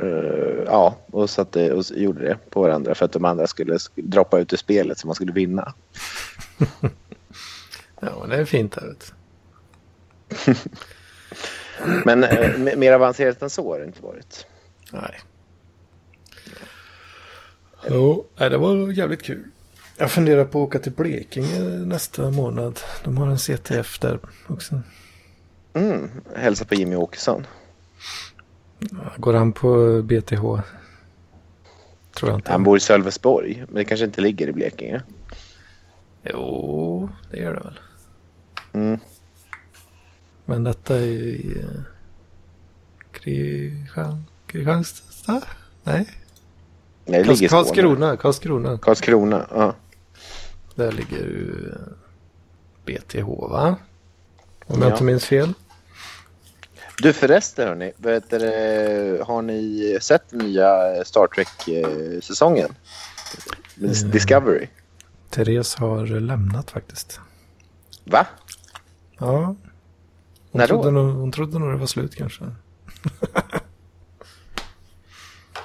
S1: eh, ja, och satte och gjorde det på varandra för att de andra skulle sk- droppa ut ur spelet så man skulle vinna.
S2: Ja, men det är fint där ute.
S1: Men eh, m- mer avancerat än så har det inte varit.
S2: Nej. Jo, nej, det var jävligt kul. Jag funderar på att åka till Blekinge nästa månad. De har en CTF där också.
S1: Mm. Hälsa på Jimmy Åkesson.
S2: Går han på BTH? Tror jag inte.
S1: Han bor i Sölvesborg, men det kanske inte ligger i Blekinge.
S2: Jo, det gör det väl.
S1: Mm.
S2: Men detta är ju i eh, Kristian- Kristianstad? Nej,
S1: Nej, det ligger i
S2: Karls-
S1: Skåne.
S2: Karlskrona. Karlskrona.
S1: Karlskrona, ja.
S2: Där ligger ju eh, BTH va? Om jag
S1: Ja.
S2: inte minns fel.
S1: Du förresten hörni, vet du, eh, har ni sett nya Star Trek-säsongen?
S2: Mm.
S1: Discovery?
S2: Therese har lämnat faktiskt.
S1: Va?
S2: Ja. Hon,
S1: När då?
S2: trodde, nog, hon trodde nog det var slut kanske.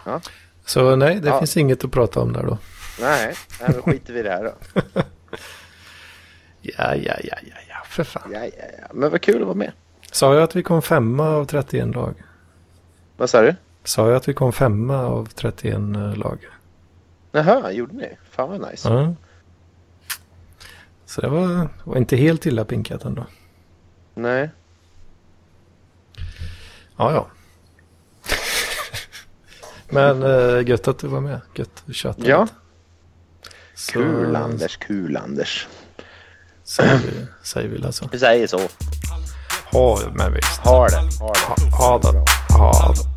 S1: Ja.
S2: Så nej, det
S1: Ja.
S2: finns inget att prata om där då.
S1: Nej, nej men skiter vi i det här då.
S2: Ja, ja, ja, ja, ja, för fan.
S1: Ja, ja, ja. Men vad kul att vara med.
S2: Sa jag att vi kom femma av 31 lag?
S1: Vad sa du?
S2: Sa jag att vi kom femma av 31 lag?
S1: Jaha, gjorde ni? Fan vad nice.
S2: Ja. Så det var, var inte helt illa pinkat ändå.
S1: Nej.
S2: Ja, ja. Men eh, gött att du var med. Gött att tjata
S1: Ja.
S2: lite. Så-
S1: Kul Anders, kul Anders.
S2: Säger vi, säger vi alltså.
S1: Vi säger så.
S2: Ha men visst.
S1: Ha det, ha det.
S2: Ha det. Ha det.